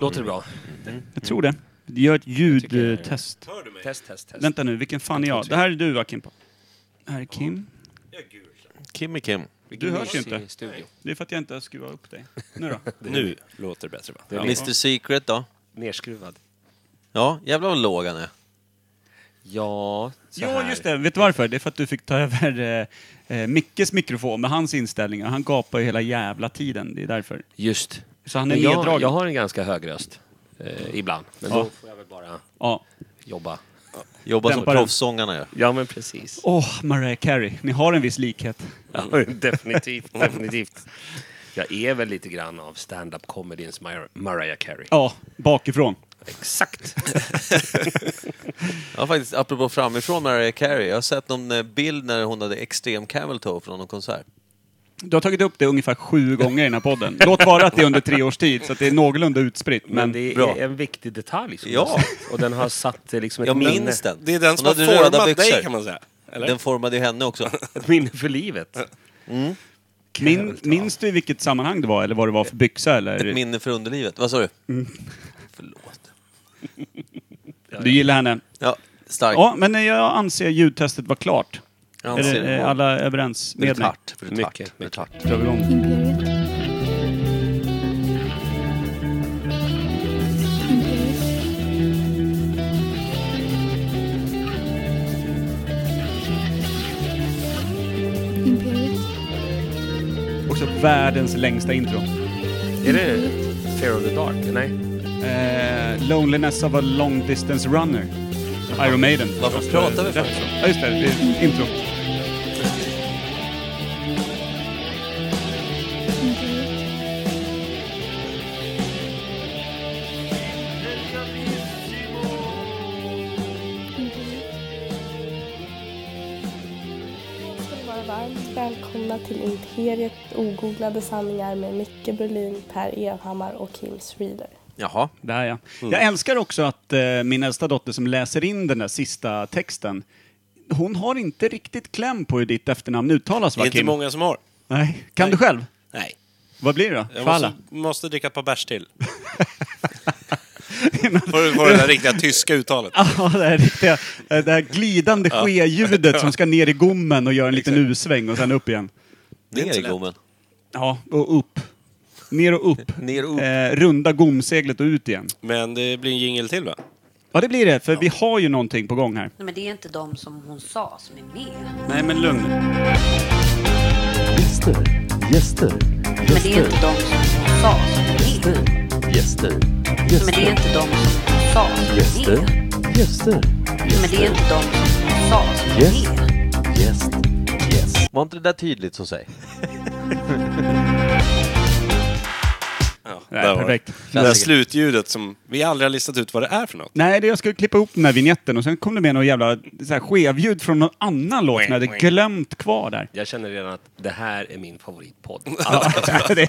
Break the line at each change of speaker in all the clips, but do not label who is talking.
Låter det bra?
Jag tror det. Mm. Gör ett
tycker-
ljudtest.
Hör du mig?
Test, test, test.
Vänta nu, vilken fan är jag? Det här är du va Kimpa? Det här är Kim.
Jag är gul.
Kim är Kim.
Du hörs ju inte.
I studio.
Det är för att jag inte har skruvat upp dig. Nu då?
Nu låter det bättre va? Ja.
Mr Secret då?
Nerskruvad.
Ja, jävlar vad låg han är.
Ja, så
Ja,
här.
just det. Vet du varför? Det är för att du fick ta över eh, eh, Mickes mikrofon med hans inställningar. Han gapar ju hela jävla tiden. Det är därför.
Just.
Så han är
Men jag,
neddragen.
jag har en ganska hög röst. Eh, ibland. Men
Ja.
då får jag väl bara
Ja.
jobba.
Jobbar som
Dämpar den.
proffssångarna gör.
Ja, men precis.
Åh, Mariah Carey. Ni har en viss likhet.
Ja, definitivt, definitivt. Jag är väl lite grann av stand-up comedyns Mar- Mariah Carey.
Ja, bakifrån.
Exakt.
Ja, faktiskt, apropå framifrån Mariah Carey. Jag har sett någon eh, bild när hon hade extrem camel toe från någon konsert.
Du har tagit upp det ungefär sju gånger i den här podden. Låt vara att det är under tre års tid, så att det är någorlunda utspritt. Men,
Men det är
bra.
en viktig detalj. Som
Ja.
jag sagt. Och den har satt eh, liksom ett,
Jag
minne,
minns den.
Det är den som har
Hon hade röda
format dig
byxor.
kan man säga. Eller?
Den formade ju henne också.
ett minne för livet.
min, minns du i vilket sammanhang det var, eller vad det var för byxa? Eller?
Ett minne för underlivet. Vad sa du? Förlåt.
Du gillar henne?
Ja, starkt.
Ja, men jag anser ljudtestet var klart.
Jag
Är
anser
det,
det.
eh, alla överens med mig?
Brutalt. Brutalt.
Mycket,
Brutalt.
Drar vi igång.
Imperiet. Imperiet. Imperiet.
Också världens längsta intro.
Är det Fear of the Dark? Nej.
Eh, Loneliness of a long distance runner. Iron Maiden.
Varför pratar vi för?
Ja, just det. det är intro.
Imperiet.
ska ni vara varmt välkomna till Imperiet ogooglade sanningar med Micke Berlin, Per Evhammar och Kim Reader.
Jaha.
Där ja. Jag älskar också att eh, min äldsta dotter som läser in den där sista texten, hon har inte riktigt kläm på hur ditt efternamn uttalas
Det är
va
inte
Kim?
många som har.
Nej. Kan du själv?
Nej.
Vad blir det då?
Jag
Falla?
måste, måste dricka ett par bärs till. Får du får det där riktiga tyska uttalet.
Ja, det här riktiga, eh, det här glidande ske-ljudet som ska ner i gommen och göra en liten U-sväng och sen upp igen.
Det är inte
Ner
så
i
lätt.
gommen.
Ja, och upp. Ner och upp.
Ner och upp.
Eh, runda gomseglet och ut igen.
Men det blir en jingel till va?
Ja, det blir det, för vi har ju någonting på gång här.
Nej, men det är inte de som hon sa som är med.
Nej, men lugn.
Gäster, gäster,
Men det är inte
gäster,
de som hon sa som är med.
gäster,
Men det är
gäster,
inte de som hon sa som är
gäster,
med.
gäster,
Men det är inte de som hon sa som är
Yes.
med.
gäst, gäst.
Var inte det där tydligt så säg?
Nej,
Där var
perfekt.
Det där slutljudet som vi aldrig har listat ut vad det är för något.
Nej, det, jag skulle klippa ihop den här vignetten och sen kom det med något jävla så här, skevljud från någon annan låt som jag hade glömt kvar där.
Jag känner redan att det här är min favoritpodd.
Ja, det,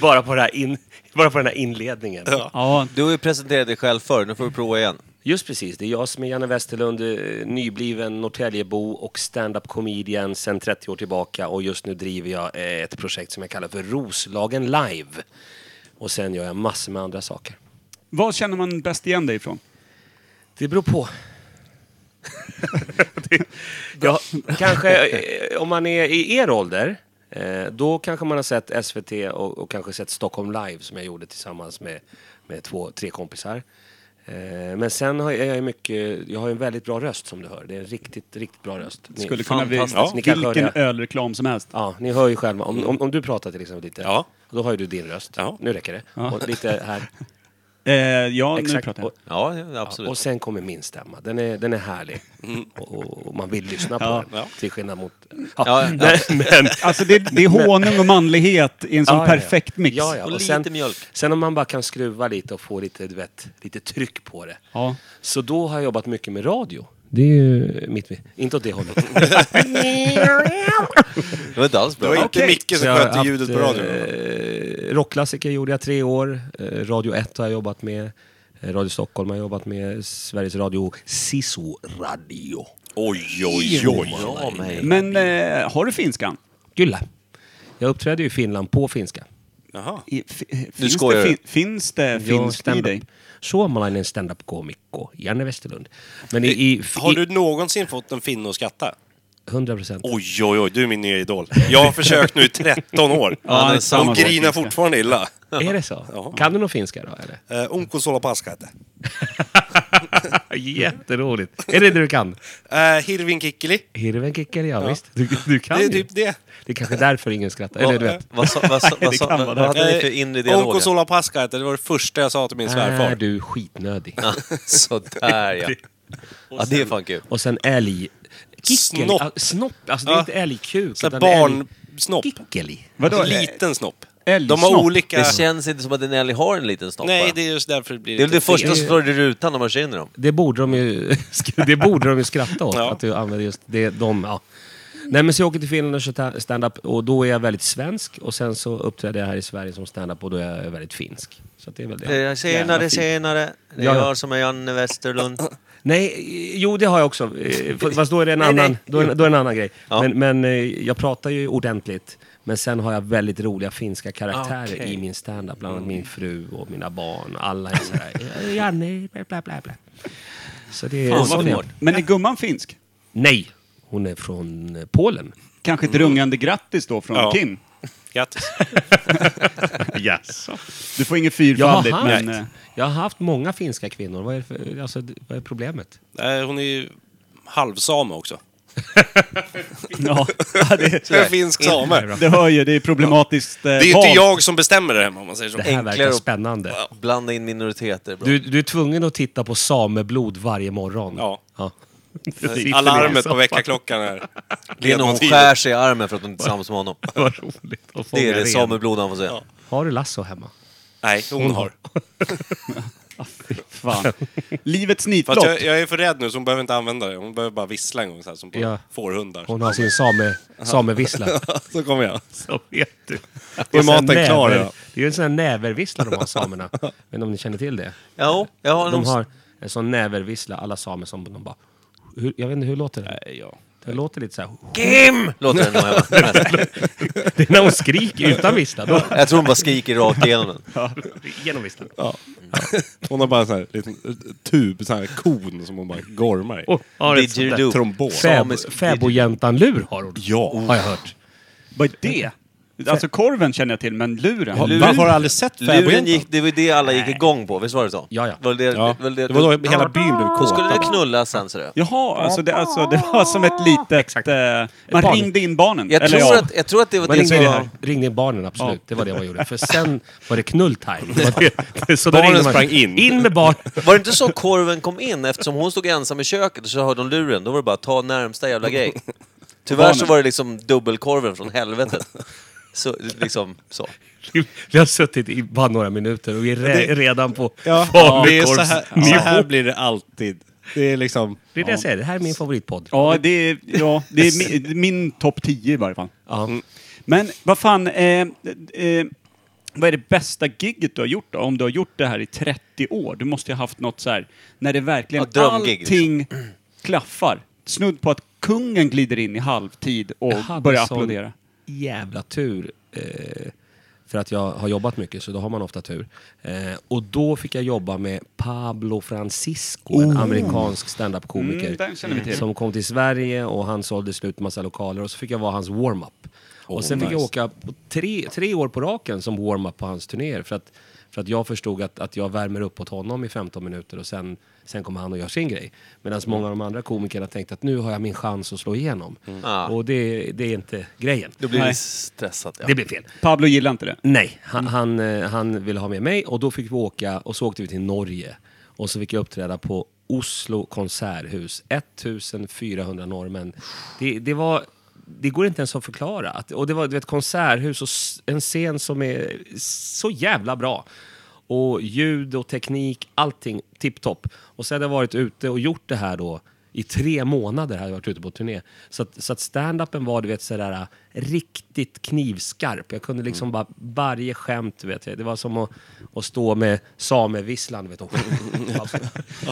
bara, på det här in, bara på den här inledningen.
ja,
Du har ju presenterat dig själv förr, nu får vi prova igen.
Just precis, det är jag som är Janne Westerlund, eh, nybliven Norrtäljebo och stand-up comedian sedan 30 år tillbaka och just nu driver jag eh, ett projekt som jag kallar för Roslagen Live. Och sen gör jag massor med andra saker.
vad känner man bäst igen dig ifrån?
Det beror på. Det- ja, kanske eh, om man är i er ålder, eh, då kanske man har sett SVT och, och kanske sett Stockholm Live som jag gjorde tillsammans med, med två, tre kompisar. Eh, men sen har jag, jag är mycket, jag har en väldigt bra röst som du hör. Det är en riktigt, riktigt bra röst. Ni,
Skulle kunna bli
fantastiskt.
Ni kan
vilken
höra.
ölreklam som helst.
Ja, ni hör ju själva. Om, om, om du pratar till exempel lite,
Ja.
då har ju du din röst.
Ja.
Nu räcker det. Och lite här.
Eh, ja, nu
Exakt.
pratar jag.
Och-
Ja, ja, absolut.
Och sen kommer min stämma. Den är, den är härlig. Och, och man vill lyssna på
Ja.
den. Till skillnad mot...
Ja, ja.
Nej, men...
Alltså det, det är honung och manlighet i en sån
Ja, ja, ja.
perfekt mix.
Ja, ja.
Och lite mjölk.
Sen om man bara kan skruva lite och få lite, du vet, lite tryck på det.
Ja.
Så då har jag jobbat mycket med radio. Det är ju mitt... Inte åt det hållet.
Det var inte alls
Det
bra.
var inte
Okej.
Micke som
Så jag har
skötte ljudet
haft,
på radion.
eh, rockklassiker gjorde jag tre år. Eh, Radio 1 har jag jobbat med. Eh, Radio Stockholm har jag jobbat med. Sveriges Radio, Sisu Radio.
Oj, oj, oj.
Ja, mig.
Men eh, har du finskan?
Gylla. Jag uppträdde ju i Finland på finska.
Jaha.
I- fi- finns
skojar.
Det, fin, finns det finskt i
stand-up.
dig?
Suomalainen standup-komikko, Janne Westerlund. Men i, i,
Eh, Har du
i
någonsin fått en finne att skratta?
100 procent.
Oj, oj, oj, du är min nya idol. Jag har försökt nu i 13 år.
Ja, det är
De
samma sak, liksom.
grinar
finska.
fortfarande illa.
Är det så?
Ja.
Kan du någon finska då, eller?
Eh, Onko sola paskate.
Jätteroligt. Är det det du kan?
Eh, Hirvin kikkeli.
Hirvenkicker, ja, visst. Du, du kan
Det är
ju.
typ det.
Det är kanske därför ingen skrattar. Eller du vet.
Vad, sa- vad, sa- vad,
Det
sa-
kan vara
vad
det.
hade ni för inre
Eh, Onko
dialog?
sola paskate, det var det första jag sa till min
Är
svärfar.
Äh, du skitnödig?
Sådär ja. Ja, det är fan kul.
Och sen älg... Kickel,
Snopp.
ah, snopp. Alltså det är
Ja.
inte älgkuk.
Så här
utan det är älg-
barnsnopp.
Kickeli.
Vadå?
Liten snopp. De
Älgsnopp?
har olika...
Det känns inte som att en älg har en liten snopp.
Nej,
va?
det är just därför det blir
det är väl det
lite
första
fel.
som slår i rutan när man känner dem.
Det borde de ju, det borde de ju skratta åt,
Ja.
att du använder just det, de, ja. Nej men så jag åker till Finland och kör ta- stand-up och då är jag väldigt svensk och sen så uppträder jag här i Sverige som stand-up och då är jag väldigt finsk. Så att det är väl det.
Det är senare, senare. Det är
Ja, ja.
jag som är Janne Westerlund.
Nej, eh, jo det har jag också. Eh, f- Fast då är det en annan, Då är, då är det en annan grej.
Ja.
Men, men eh, jag pratar ju ordentligt. Men sen har jag väldigt roliga finska karaktärer
Ah,
i min standup. Bland
Mm.
annat min fru och mina barn. Alla är sådär, "Eh, Janne, bla bla bla. bla. Så det är...
Fan, vad
sån är jag.
smart.
Men är gumman finsk?
Nej, hon är från eh, Polen.
Kanske ett rungande grattis då från
Mm. Ja.
Kim?
Grattis.
Yes. Du får inget
Jag har,
fyrfaldigt,
haft,
men... eh,
jag har haft många finska kvinnor. Vad är, det för, alltså, d- vad är problemet?
Nej, hon är ju halvsame också.
Ja, ja, det,
En finsk same.
det hör ju, det är problematiskt
Det
eh,
är ju inte
val.
jag som bestämmer det hemma om man säger så.
Det här
Enklare
verkar
att-
spännande.
Blanda in minoriteter. Bra.
Du, du är tvungen att titta på sameblod varje morgon.
Ja.
Precis.
Alarmet på väckarklockan här.
det är när hon skär sig i armen för att hon inte är tillsammans med honom.
Vad roligt att fånga
Det är det
ren.
sameblod han får säga.
Har du lasso hemma?
Nej, hon har.
Fan. Livets nitlott.
Fast jag, jag är för rädd nu så hon behöver inte använda det. Hon behöver bara vissla en gång så här som på
Ja.
fårhundar.
Hon har sin same, samevissla.
Så kommer jag.
Så vet du.
Då är maten klar.
näver,
Ja.
det är ju en sån här nävervissla de har, samerna. Men om ni känner till det?
Ja, jag har
De
någon...
har en sån nävervissla, alla samer, som de bara... Hur, jag vet inte, hur låter det? Det låter lite så här...
Låter den nog hemma.
Det är när hon skriker utan vissla. Då,
Jag tror hon bara skriker rakt igenom den.
genom visslan.
Hon har bara en sån här liten eh, tub, sån här kon som hon bara gormar i.
Och har ett sånt där
Didgeridoo.
Trombon.
fäb- Fäbodjäntan-lur har hon.
Ja.
Har jag hört.
Vad är det? Alltså korven känner jag till, men luren?
Har-
Luren-
Man har aldrig sett
Luren
fäbodjäntan.
gick, det var ju det alla gick igång på, visst var det så?
Ja, ja.
Var det,
Ja.
var det,
Det var då hela byn blev
Då skulle
kåta.
det knulla sen sådär.
Jaha, alltså det, alltså det var som ett litet... Eh, man
Barn.
ringde in barnen.
Jag
Eller
tror,
ja.
att, jag tror att det var
Man
det
ringde,
som
in,
var...
ringde in barnen, absolut. Det var det man gjorde. För sen var det knulltime. Det var det- Så då
Barnen
ringde man-
sprang in.
In med barnen.
Var det inte så korven kom in? Eftersom hon stod ensam i köket och så hörde hon luren, då var det bara ta närmsta jävla grej. Tyvärr så var det liksom dubbelkorven från helvetet. Så, liksom, så.
Vi har suttit i bara några minuter och vi är re, redan på
Ja, det är så här, så
falukorvsnivå.
här blir det alltid. Det är liksom...
Det är det jag säger, det här är min favoritpodd.
Ja, det är, ja, det är min, min topp 10 i varje fall.
Ja.
Men vad fan, eh, eh, vad är det bästa gigget du har gjort då? Om du har gjort det här i 30 år? Du måste ju ha haft något så här, när det verkligen
Ja, drömgig,
allting klaffar. Snudd på att kungen glider in i halvtid
Jag hade
och börjar
sån
applådera.
jävla tur. Eh, för att jag har jobbat mycket, så då har man ofta tur. Eh, och då fick jag jobba med Pablo Francisco, en amerikansk
Oh. Mm,
standup-komiker.
den känner vi till.
som kom till Sverige och han sålde slut massa lokaler och så fick jag vara hans warm-up. och sen fick jag åka på tre, tre år på raken som warm-up på hans turnéer. För att, för att jag förstod att, att jag värmer upp åt honom i 15 minuter och sen, sen kommer han och gör sin grej. Medan många av de andra komikerna tänkte att nu har jag min chans att slå igenom.
Ah.
Och det, det är inte grejen.
Då blir
Nej.
det stressat. Ja.
Det blir fel.
Pablo gillar inte det.
Nej, han, han, eh, han ville ha med mig och då fick vi åka och så åkte vi till Norge. Och så fick jag uppträda på Oslo konserthus, 1400 norrmän. Det, det var... Det går inte ens att förklara. Att- Och det var du vet, konserthus och s- en scen som är så jävla bra. Och ljud och teknik, allting tipptopp. Och så hade jag varit ute och gjort det här då i tre månader hade jag varit ute på turné. Så att, så att stand-upen var du vet, sådär, riktigt knivskarp. Jag kunde liksom bara, varje skämt, du vet jag, det var som att, att stå med samevisslan. du Vet, och,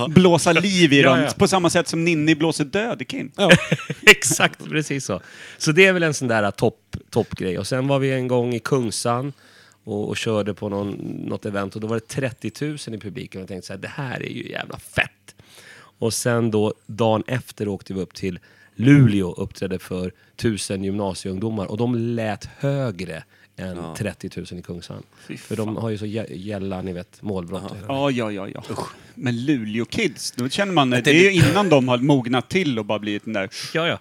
Blåsa liv i
Ja,
dem,
ja.
på samma sätt som Ninni blåser död i Kim.
Exakt, precis så. Så det är väl en sån där topp- toppgrej. och sen var vi en gång i Kungsan och, och körde på någon, något event och då var det 30 000 i publiken och jag tänkte så här, det här är ju jävla fett. Och sen då dagen efter åkte vi upp till Luleå och uppträdde för 1000 gymnasieungdomar och de lät högre än 30 000 i Kungshamn. För de har ju så gä- gälla, ni vet, målbrott.
Ja, ja, ja, ja. Men Luleå Kids, då känner man, det är ju innan de har mognat till och bara blivit den där...
Ja, ja.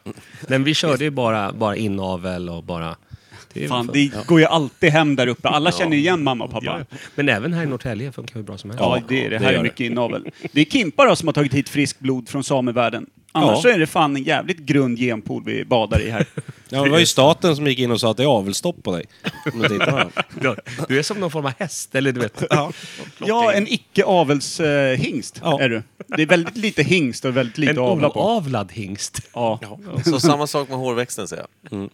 Men vi körde ju bara, bara inavel och bara... det är
Fan,
för-
det går ju alltid hem där uppe. Alla känner ju igen mamma och
Ja,
pappa.
ja. Men även här i Norrtälje funkar hur bra som helst.
Ja, det är det. Här är mycket inavel. Det är Kimpa då som har tagit hit friskt blod från samevärlden. Annars
Ja.
så är det fan en jävligt grund genpool vi badar i här.
Ja, det var ju staten som gick in och sa att det är avelstopp på dig. Om du tittar på den.
Du är som någon form av häst, eller du vet.
Ja, en icke-avelshingst
Ja.
är du. Det är väldigt lite hingst och väldigt lite
En
avla på.
oavlad hingst.
Ja.
Så samma sak med hårväxten säger jag.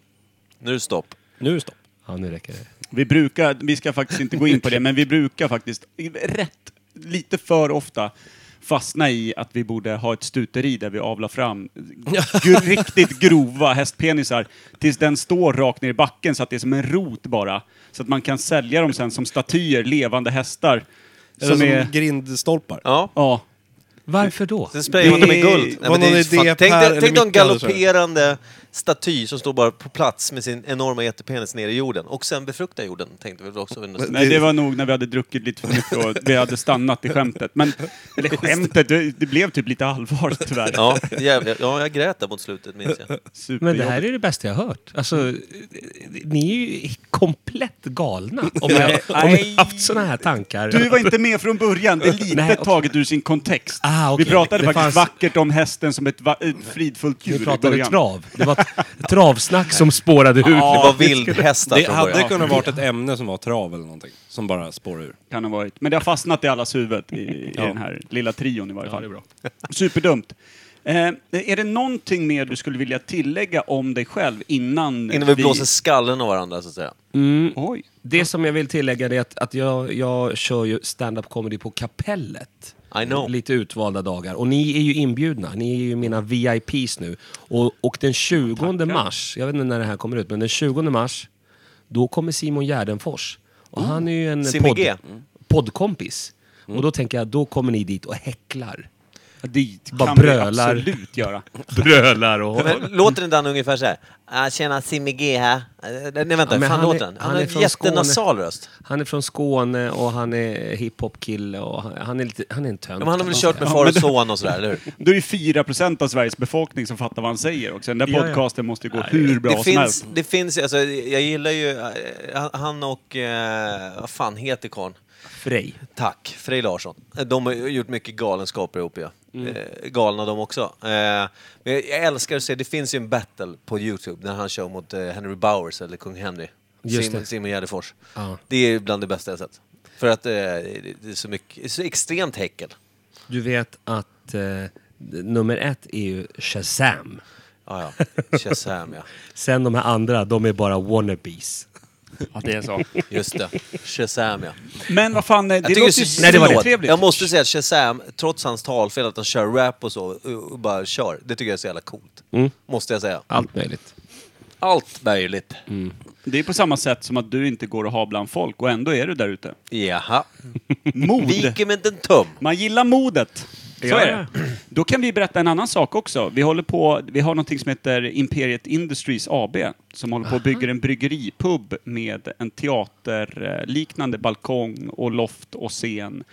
Nu är det stopp.
Nu är det stopp.
Ja, nu räcker det.
Vi brukar, vi ska faktiskt inte gå in på det, men vi brukar faktiskt rätt, lite för ofta fastna i att vi borde ha ett stuteri där vi avlar fram g- riktigt grova hästpenisar tills den står rakt ner i backen så att det är som en rot bara. Så att man kan sälja dem sen som statyer, levande hästar.
Som, som
Som är...
grindstolpar.
Ja.
Ja.
Varför då?
Sen sprayar man dem med guld.
var någon
ju
idé
fan-
Per
tänk dig
eller
tänk dig en
Micke hade, tror jag.
galopperande staty som står bara på plats med sin enorma jättepenis nere i jorden. Och sen befruktar jorden, tänkte vi väl också. under-
Nej, det var nog när vi hade druckit lite för mycket och vi hade stannat i skämtet. Men, eller skämtet, det, det blev typ lite allvar tyvärr.
Ja, jävlar. ja, jag grät där mot slutet minns jag.
Men det
Superjobbigt.
här är det bästa jag har hört. Alltså, eh, ni är ju komplett galna om jag om jag haft såna här tankar.
Du var inte med från början. Det är lite
Nej, okej.
taget ur sin kontext.
Ah, okej.
Vi pratade
Det
faktiskt
fanns-
vackert om hästen som ett, va- ett fridfullt djur
Vi
i
pratade
början.
trav. Det var ett travsnack som spårade ur.
Det var vildhästar
Det
från början.
hade kunnat varit ett ämne som var trav eller någonting. Som bara spårar ur.
Kan ha varit. Men det har fastnat i allas huvud i, i den här lilla trion i varje fall. Superdumt. Eh, är det någonting mer du skulle vilja tillägga om dig själv innan, Mm.
Innan vi blåser skallen av varandra så att säga.
Oj.
Det som jag vill tillägga det är att, att jag, jag kör ju stand-up comedy på Kapellet.
I know.
Lite utvalda dagar. Och ni är ju inbjudna. Ni är ju mina VIPs nu. Och, och den 20 mars, jag vet inte när det här kommer ut, men den 20 mars då kommer Simon Gärdenfors. Och han är ju en
Mm. Simon G. Mm.
poddkompis. Och då tänker jag, då kommer ni dit och häcklar.
Det kan
Bara
vi
brölar.
absolut göra.
Brölar och...
Men låter den Dan ungefär så här? Ah, tjena, Simmy G här. Eh, Nej vänta,
Ja,
hur
men
fan
han är-
låter den? Han,
han
har
är
en
från
jättenasal
Skåne.
röst.
Han är från Skåne och han är hiphop-kille och han, han är lite... Han är en tönt.
Men han har väl kört med
Ja,
far
men
och
det-
son och sådär, eller hur?
Då är det 4% av Sveriges befolkning som fattar vad han säger också. Den där
Ja, ja.
podcasten måste gå hur bra
Det
som helst.
finns, det finns, alltså, jag gillar ju, eh, han och, eh, vad fan heter karln?
Frej.
Tack, Frej Larsson. De har ju gjort mycket galenskaper ihop ju. Eh, galna de också. Eh, men jag jag älskar att se, det finns ju en battle på Youtube när han kör mot eh, Henry Bowers eller Kung Henry.
Just
Sim,
det.
Simon Gärdenfors.
Ja.
Det är ju bland det bästa jag sett. För att eh, det det är så, mycket, så extremt häckel.
Du vet att eh, nummer ett är ju Shazam.
Ja, ja. Shazam, ja.
Sen de här andra, de är bara wannabes.
Ja, det är så.
Just det. Shazam, ja.
Men vad fan, eh, det
Jag tycker
låter ju
är så synd.
så trevligt.
Jag måste säga att Shazam, trots hans talfel, att han kör rap och så, och och bara kör. Det tycker jag är så jävla coolt. Måste jag säga.
Allt möjligt.
Allt möjligt.
Det är på samma sätt som att du inte går och har bland folk och ändå är du där ute.
Jaha.
Mod!
Viker med en tum.
Man gillar modet! Så är det. Då kan vi berätta en annan sak också. Vi håller på, vi har någonting som heter Imperiet Industries AB som håller på och bygger en bryggeripub med en teaterliknande balkong och loft och scen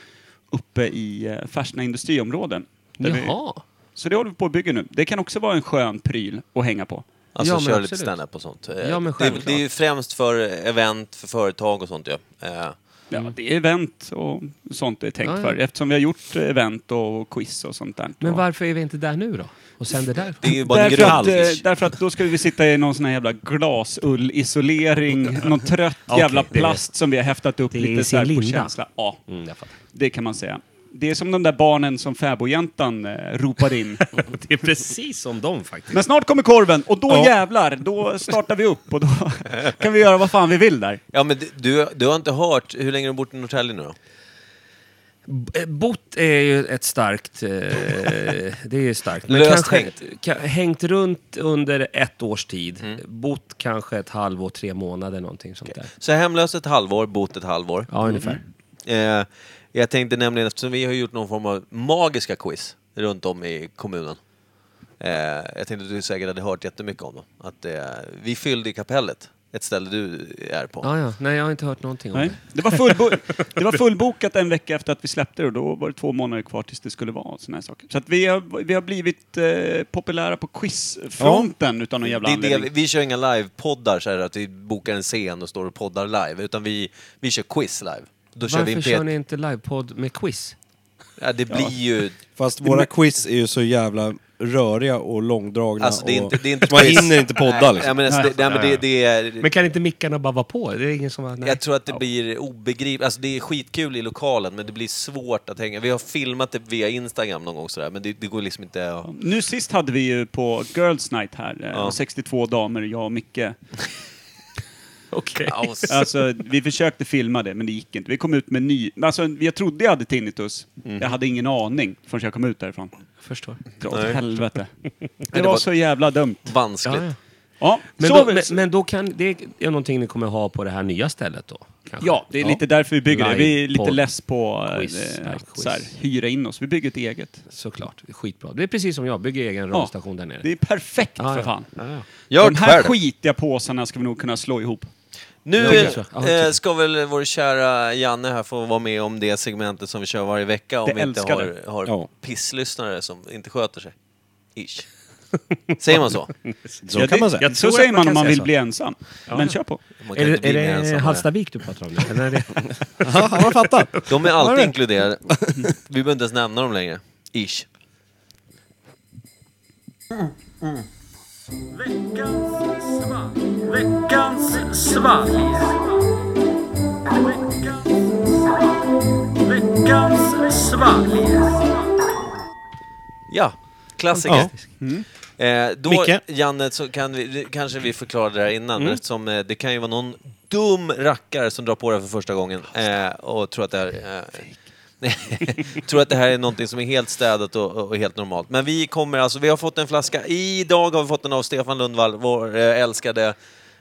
uppe i eh, Färsna industriområden. Där vi-
Jaha.
Så det håller vi på och bygger nu. Det kan också vara en skön pryl att hänga på.
Alltså
Ja, men
kör lite
absolut.
standup och sånt. Eh,
Ja, men
det,
självklart.
det är ju främst för event, för företag och sånt ju. Ja. Eh,
Ja, det är event och sånt det är tänkt
Mm. Ja, ja.
för. Eftersom vi har gjort event och quiz och sånt där.
Men
Och-
varför är vi inte där nu då? Och sänder där?
Det är ju bara en
Därför att,
grund.
eh, därför att då ska vi sitta i någon sån här jävla glasullisolering, någon trött jävla
Okej, det är-
plast som vi har häftat upp
det är sin
lite så här på
linda.
känsla. Ja,
Mm, jag fattar.
det kan man säga. Det är som de där barnen som fäbodjäntan eh, ropar in.
det är precis som de faktiskt.
Men snart kommer korven och då jävlar, då startar vi upp och då kan vi göra vad fan vi vill där.
Ja, men du- du, du har inte hört, hur länge har du bott i Norrtälje nu då?
B- eh, Bott är ju ett starkt... Eh, det är ju starkt.
Löst
kanske,
hängt. Mm.
ka, hängt runt under ett års tid. Bott kanske ett halvår, tre månader, någonting sånt där.
Så hemlös ett halvår, bott ett halvår.
Ja, ungefär.
Eh, jag tänkte nämligen, eftersom vi har gjort någon form av magiska quiz runt om i kommunen. Eh, jag tänkte att du säkert hade hört jättemycket om dem. Att, eh, vi fyllde i kapellet, ett ställe du är på.
Ja, ja. Nej, jag har inte hört någonting om
Nej. Det, var fullbo- det var fullbokat en vecka efter att vi släppte det och då var det två månader kvar tills det skulle vara. Såna här saker. Så att vi, har, vi har blivit eh, populära på quizfronten utan någon jävla
Det är det, vi-
anledning.
vi kör inga live-poddar så här att vi bokar en scen och står och poddar live, utan vi, vi kör quiz live. Då
det.
kör vi
Varför
en
kör
pet-
ni inte livepodd med quiz?
ja, Det blir ju...
Fast våra quiz är ju så jävla röriga och långdragna.
Alltså, det är
och
inte, det är inte
man
quiz.
hinner inte podda
Nej,
liksom.
nej, men, alltså, det, nej, men det, det är...
Men kan inte mickarna bara vara på? Det är ingen som... Nej.
Jag tror att det blir obegripligt. Alltså det är skitkul i lokalen, men det blir svårt att hänga. Vi har filmat det via Instagram någon gång sådär, men det, det går liksom inte att...
Nu sist hade vi ju på Girls Night här, eh,
Ja.
62 damer, jag och Micke.
Okej.
Kaos.
Alltså, vi försökte filma det, men det gick inte. Vi kom ut med ny... Alltså, jag trodde jag hade tinnitus.
Mm.
Jag hade ingen aning förrän jag kom ut därifrån.
Förstår.
Dra åt helvete. Det
det
var
var-
så jävla dumt.
Vanskligt.
Ja, ja.
Ja,
Men,
så
då,
vi-
men, men då kan... Det är någonting ni kommer ha på det här nya stället då? kanske?
Ja, det är lite därför vi bygger det. Vi är
Live
lite
podd.
less på eh,
Quiz,
att
live
så här,
quiz.
hyra in oss. Vi bygger ett eget.
Såklart. Skitbra. Det är precis som jag, bygger egen
Ja,
radiostation där nere.
det är perfekt
Ja,
för
ja.
fan.
Gör
De här
själv.
skitiga påsarna ska vi nog kunna slå ihop.
Nu
Ja, jag tror- ja, jag
eh,
tror.
ska väl vår kära Janne här få vara med om det segmentet som vi kör varje vecka om
Det
vi inte
älskar
har, har
Ja.
pisslyssnare som inte sköter sig. Ish. Säger man så?
Så kan man säga.
jag
så
tror
säger
att man
man, om
kan
man
säga
vill
så.
bli ensam. Men kör på.
Man kan
Är
inte
det,
bli
är det
ensam här.
Hallstavik du pratar om nu? Eller är det...
Ja, har man fattat?
De är alltid inkluderade. Vi behöver inte ens nämna dem längre. Ish. Ja, klassiker. Eh, då,
Micke?
Janne, så kan vi, kanske vi förklarade det här innan,
Mm.
men eftersom eh, det kan ju vara någon dum rackare som drar på det här för första gången eh, och tror att det här... Eh, tror att det här är någonting som är helt städat och, och helt normalt. Men vi kommer alltså, vi har fått en flaska, idag har vi fått den av Stefan Lundvall, vår eh, älskade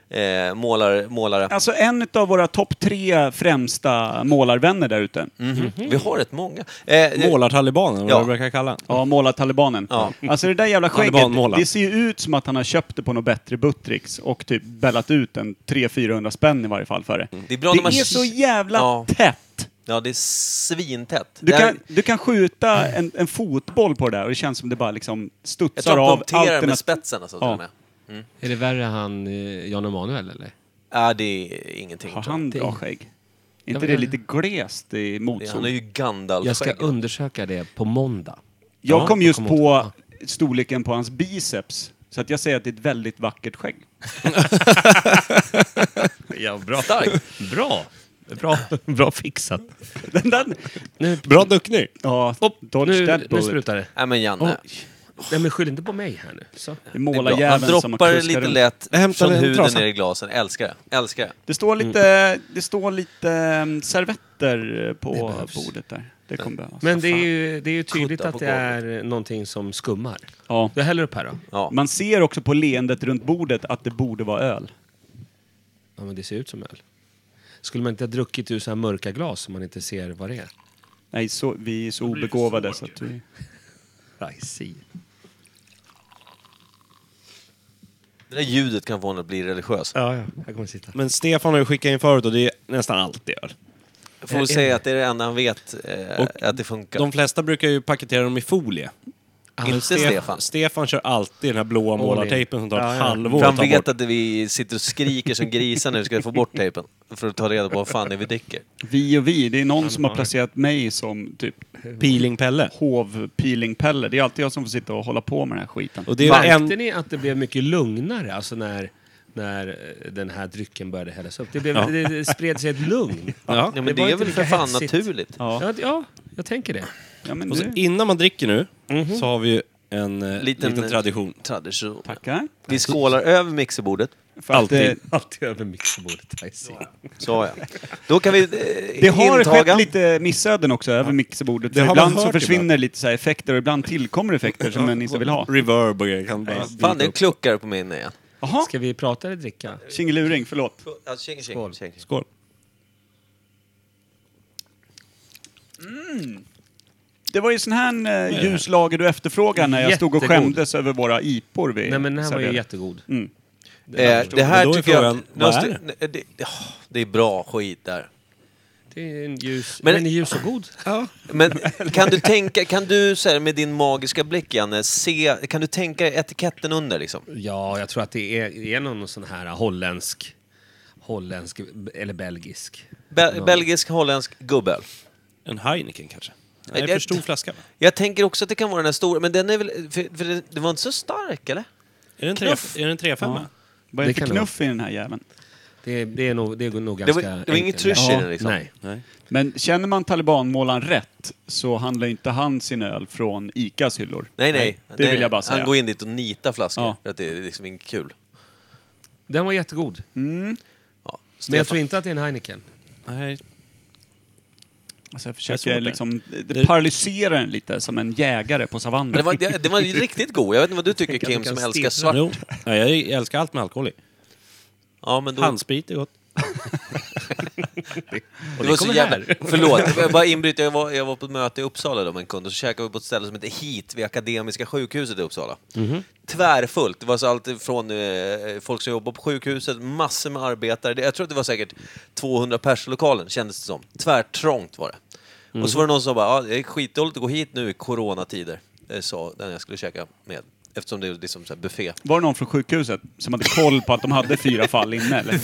eh, målar, målare.
Alltså en av våra topp tre främsta målarvänner där ute.
Vi har rätt många. Eh,
Målartalibanen, vad
Ja.
ja. brukar kalla den.
Ja, målartalibanen.
Ja.
Alltså det där jävla skägget,
Talibanmåla.
det ser ju ut som att han har köpt det på något bättre Buttricks och typ bällat ut en 300-400 spänn i varje fall för det.
Mm. Det är bra när man-
så jävla
Ja.
tätt.
ja, det är svintätt.
Du
Det här-
kan, du kan skjuta en, en fotboll på det där och det känns som det bara liksom
jag
studsar
tror han
av
punkterar med
alternat-
spetsen alltså, till
Ja.
och med.
Är det värre han eh, Jan Emanuel eller?
Ja, det är ingenting.
Har
tror jag.
han
Det-
bra skägg? Är inte
men
det
jag-
lite glest i
Ja, Han
motsol?
är ju Gandalf
Jag ska undersöka det på måndag.
Jag
Ja,
kom
jag
just
kommer
på storleken på hans biceps. Så att jag säger att det är ett väldigt vackert skägg.
Ja, bra.
Stark.
Bra. Bra, bra fixat.
Den där...
Bra duckning!
Ja, Dodge
Nu,
that
nu
bullet.
slutar det.
Nej men Janne,
Oh.
Nej, men skyll inte på mig här nu. Så.
Det är
det är bra. han
målarjäveln som har
droppar det
kuskat
lite
runt.
lätt
Jag hämtar
från
en
huden
trasa.
ner i glasen. Älskar det, älskar det.
Det står lite, det står lite mm, servetter eh, på bordet där. Det kommer behövas.
Men det är, ju, det är ju tydligt
Kudda
att
på
det är någonting som skummar.
ja.
Jag häller upp här då.
Ja.
Man ser också på leendet runt bordet att det borde vara öl.
Ja, men det ser ut som öl. Skulle man inte ha druckit ur så här mörka glas som man inte ser vad det är?
Nej, så, vi är så obegåvade så att vi...
I see.
Det där ljudet kan få en att bli religiös.
Ja, ja. Här kommer sitta.
Men Stefan har ju skickat in förut och det är nästan alltid öl.
Jag får väl säga att det är det enda han vet, eh,
Och
att det funkar.
De flesta brukar ju paketera dem i folie.
Inte Ah, Stefan.
Stefan kör alltid den här blåa målartejpen som tar ett halvår
För han
att ta
vet
bort.
att vi sitter och skriker som grisar när vi ska få bort tejpen. För att ta reda på vad fan det är vi dricker.
Vi och vi, det är någon som har placerat mig som typ
Peeling-Pelle.
hovpeelingpelle. Det är alltid jag som får sitta och hålla på med den här skiten.
Och det är
Märkte
en...
ni att det blev mycket lugnare alltså när, när eh, den här drycken började hällas upp? Det, blev, det, det spred sig ett lugn.
Ja.
Ja,
Det
men det,
var
är
inte
väl för
lika
fan
hetsigt.
naturligt.
Ja.
Ja, d- ja jag tänker det.
Ja, men
Och så
det-
innan man dricker nu så har vi ju en eh,
Mhm. Liten-
liten, tradition.
Tradition.
Tackar.
Vi skålar över mixerbordet.
För att, eh,
Alltid över mixerbordet. I see.
Så ja. Då kan vi eh,
Det har
intaga.
skett lite missöden också över mixerbordet.
Det
För
har man
ibland så
hört
försvinner
ibland.
lite så här effekter och ibland tillkommer effekter som man inte vill ha.
Reverb och grejer kan bara...
Fan, det kluckar på min eh, igen.
Jaha,
Ska vi prata eller dricka?
tjingeluring, förlåt.
Alltså, tjing, tjing,
Skål.
tjing.
Skål.
Det var ju sån här eh, ljus lager du efterfrågade när jag stod och
Jättegod.
skämdes över våra IPor vi
Nej men den här var ju
serverade.
jättegod.
Mm. Eh, det
Men
här
då är
tycker jag...
frågan, vad
måste-
är det?
nej, det? ja, det är bra skit där.
Det är en ljus...
Men-
Men den är ljus och god.
Men kan du tänka, kan du så här, med din magiska blick Janne, se, kan du tänka dig etiketten under liksom?
Ja, jag tror att det är, det är någon sån här holländsk... Holländsk eller belgisk.
Be- Belgisk, holländsk, gubbel.
En Heineken kanske?
Nej,
Nej,
det-
för stor flaska. va?
Jag tänker också att det kan vara den här stora, men den är väl, för, för det, det var inte så stark eller?
Är det en
Knuff.
tre- är det en 3-5?
Vad är det
Det
för
kan det
knuff i den här jäveln?
Det är, det är, nog, det är nog
Det
ganska
var, det var inget
enkelt.
trysch i
Ja.
den liksom.
Nej.
Men känner man talibanmålaren rätt så handlar ju inte han sin öl från ICAs hyllor.
Nej, nej.
Det
nej,
vill jag bara
Han
säga.
går in dit och nitar flaskor,
Ja.
för att det är liksom inte kul.
Den var jättegod.
Mm. Ja.
Men jag
Stefan,
tror inte att det är en Heineken.
Nej.
Alltså jag
Jag
försöker
såg det.
liksom det paralyserar den lite som en jägare på savannen.
men det var, det, det var ju riktigt god. Jag vet inte vad du tycker Kim, som älskar svart.
Jo. Ja, jag älskar allt med alkohol i.
Ja, men då,
Handsprit är gott.
det var så
kommer
jävla...
här.
Förlåt, jag bara inbryter. Jag var, jag var på ett möte i Uppsala då med en kund och så käkade vi på ett ställe som heter HIT vid Akademiska sjukhuset i Uppsala. Tvärfullt. Det var så allt från eh, folk som jobbar på sjukhuset, massor med arbetare. Det- Jag tror att det var säkert 200 pers i lokalen, kändes det som. Tvärtrångt var det. Och så var det någon som bara, ja, det är skitdåligt att gå hit nu i coronatider, eh, sa den jag skulle käka med. Eftersom det är liksom så här buffé.
Var det någon från sjukhuset som hade koll på att de hade fyra fall inne eller?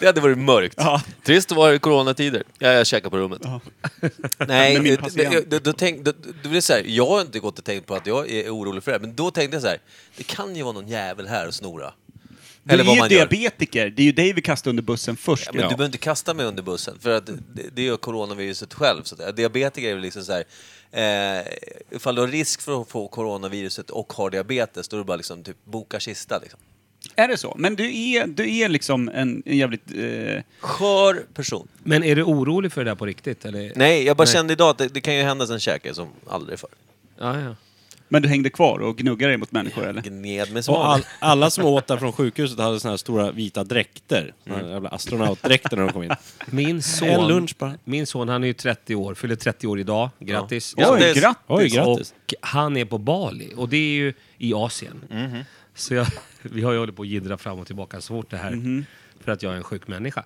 Det hade varit mörkt.
Ja.
Trist att vara i coronatider. Ja, jag käkar på rummet. Nej,
Med min
eh,
patient.
eh, då, då, tänk, då, då blir det så här, jag har inte gått och tänkt på att jag är orolig för det här, men då tänkte jag så här, det kan ju vara någon jävel här och snora.
Du
Eller
är
vad
ju
man gör.
diabetiker, det är ju dig vi kastar under bussen först.
Ja, men
ju.
du behöver inte kasta mig under bussen, för att det, det gör coronaviruset själv. Så att, säga. diabetiker är väl liksom så här, eh, ifall du har risk för att få coronaviruset och har diabetes, då är det bara liksom typ boka kista. Liksom.
Är det så? Men du är, du är liksom en, en jävligt... Eh,
Skör person.
Men är du orolig för det där på riktigt? Eller?
Nej, jag bara
Nej.
kände idag att det, det kan ju hända sen käke som aldrig förr.
Ja, ja.
men du hängde kvar och gnuggade dig mot människor eller?
Gned med
Och
smaken.
all, alla som åt där från sjukhuset hade såna här stora vita dräkter. Såna
Mm.
här jävla astronautdräkter när de kom in.
Min son,
En lunch bara.
min son han är ju 30 år, fyller 30 år idag. Grattis!
Ja.
Oj,
Grattis.
grattis!
Oj, grattis.
Och han är på Bali, och det är ju i Asien. Så jag, vi har ju hållit på att jiddra fram och tillbaka så fort det här. För att jag är en sjuk människa.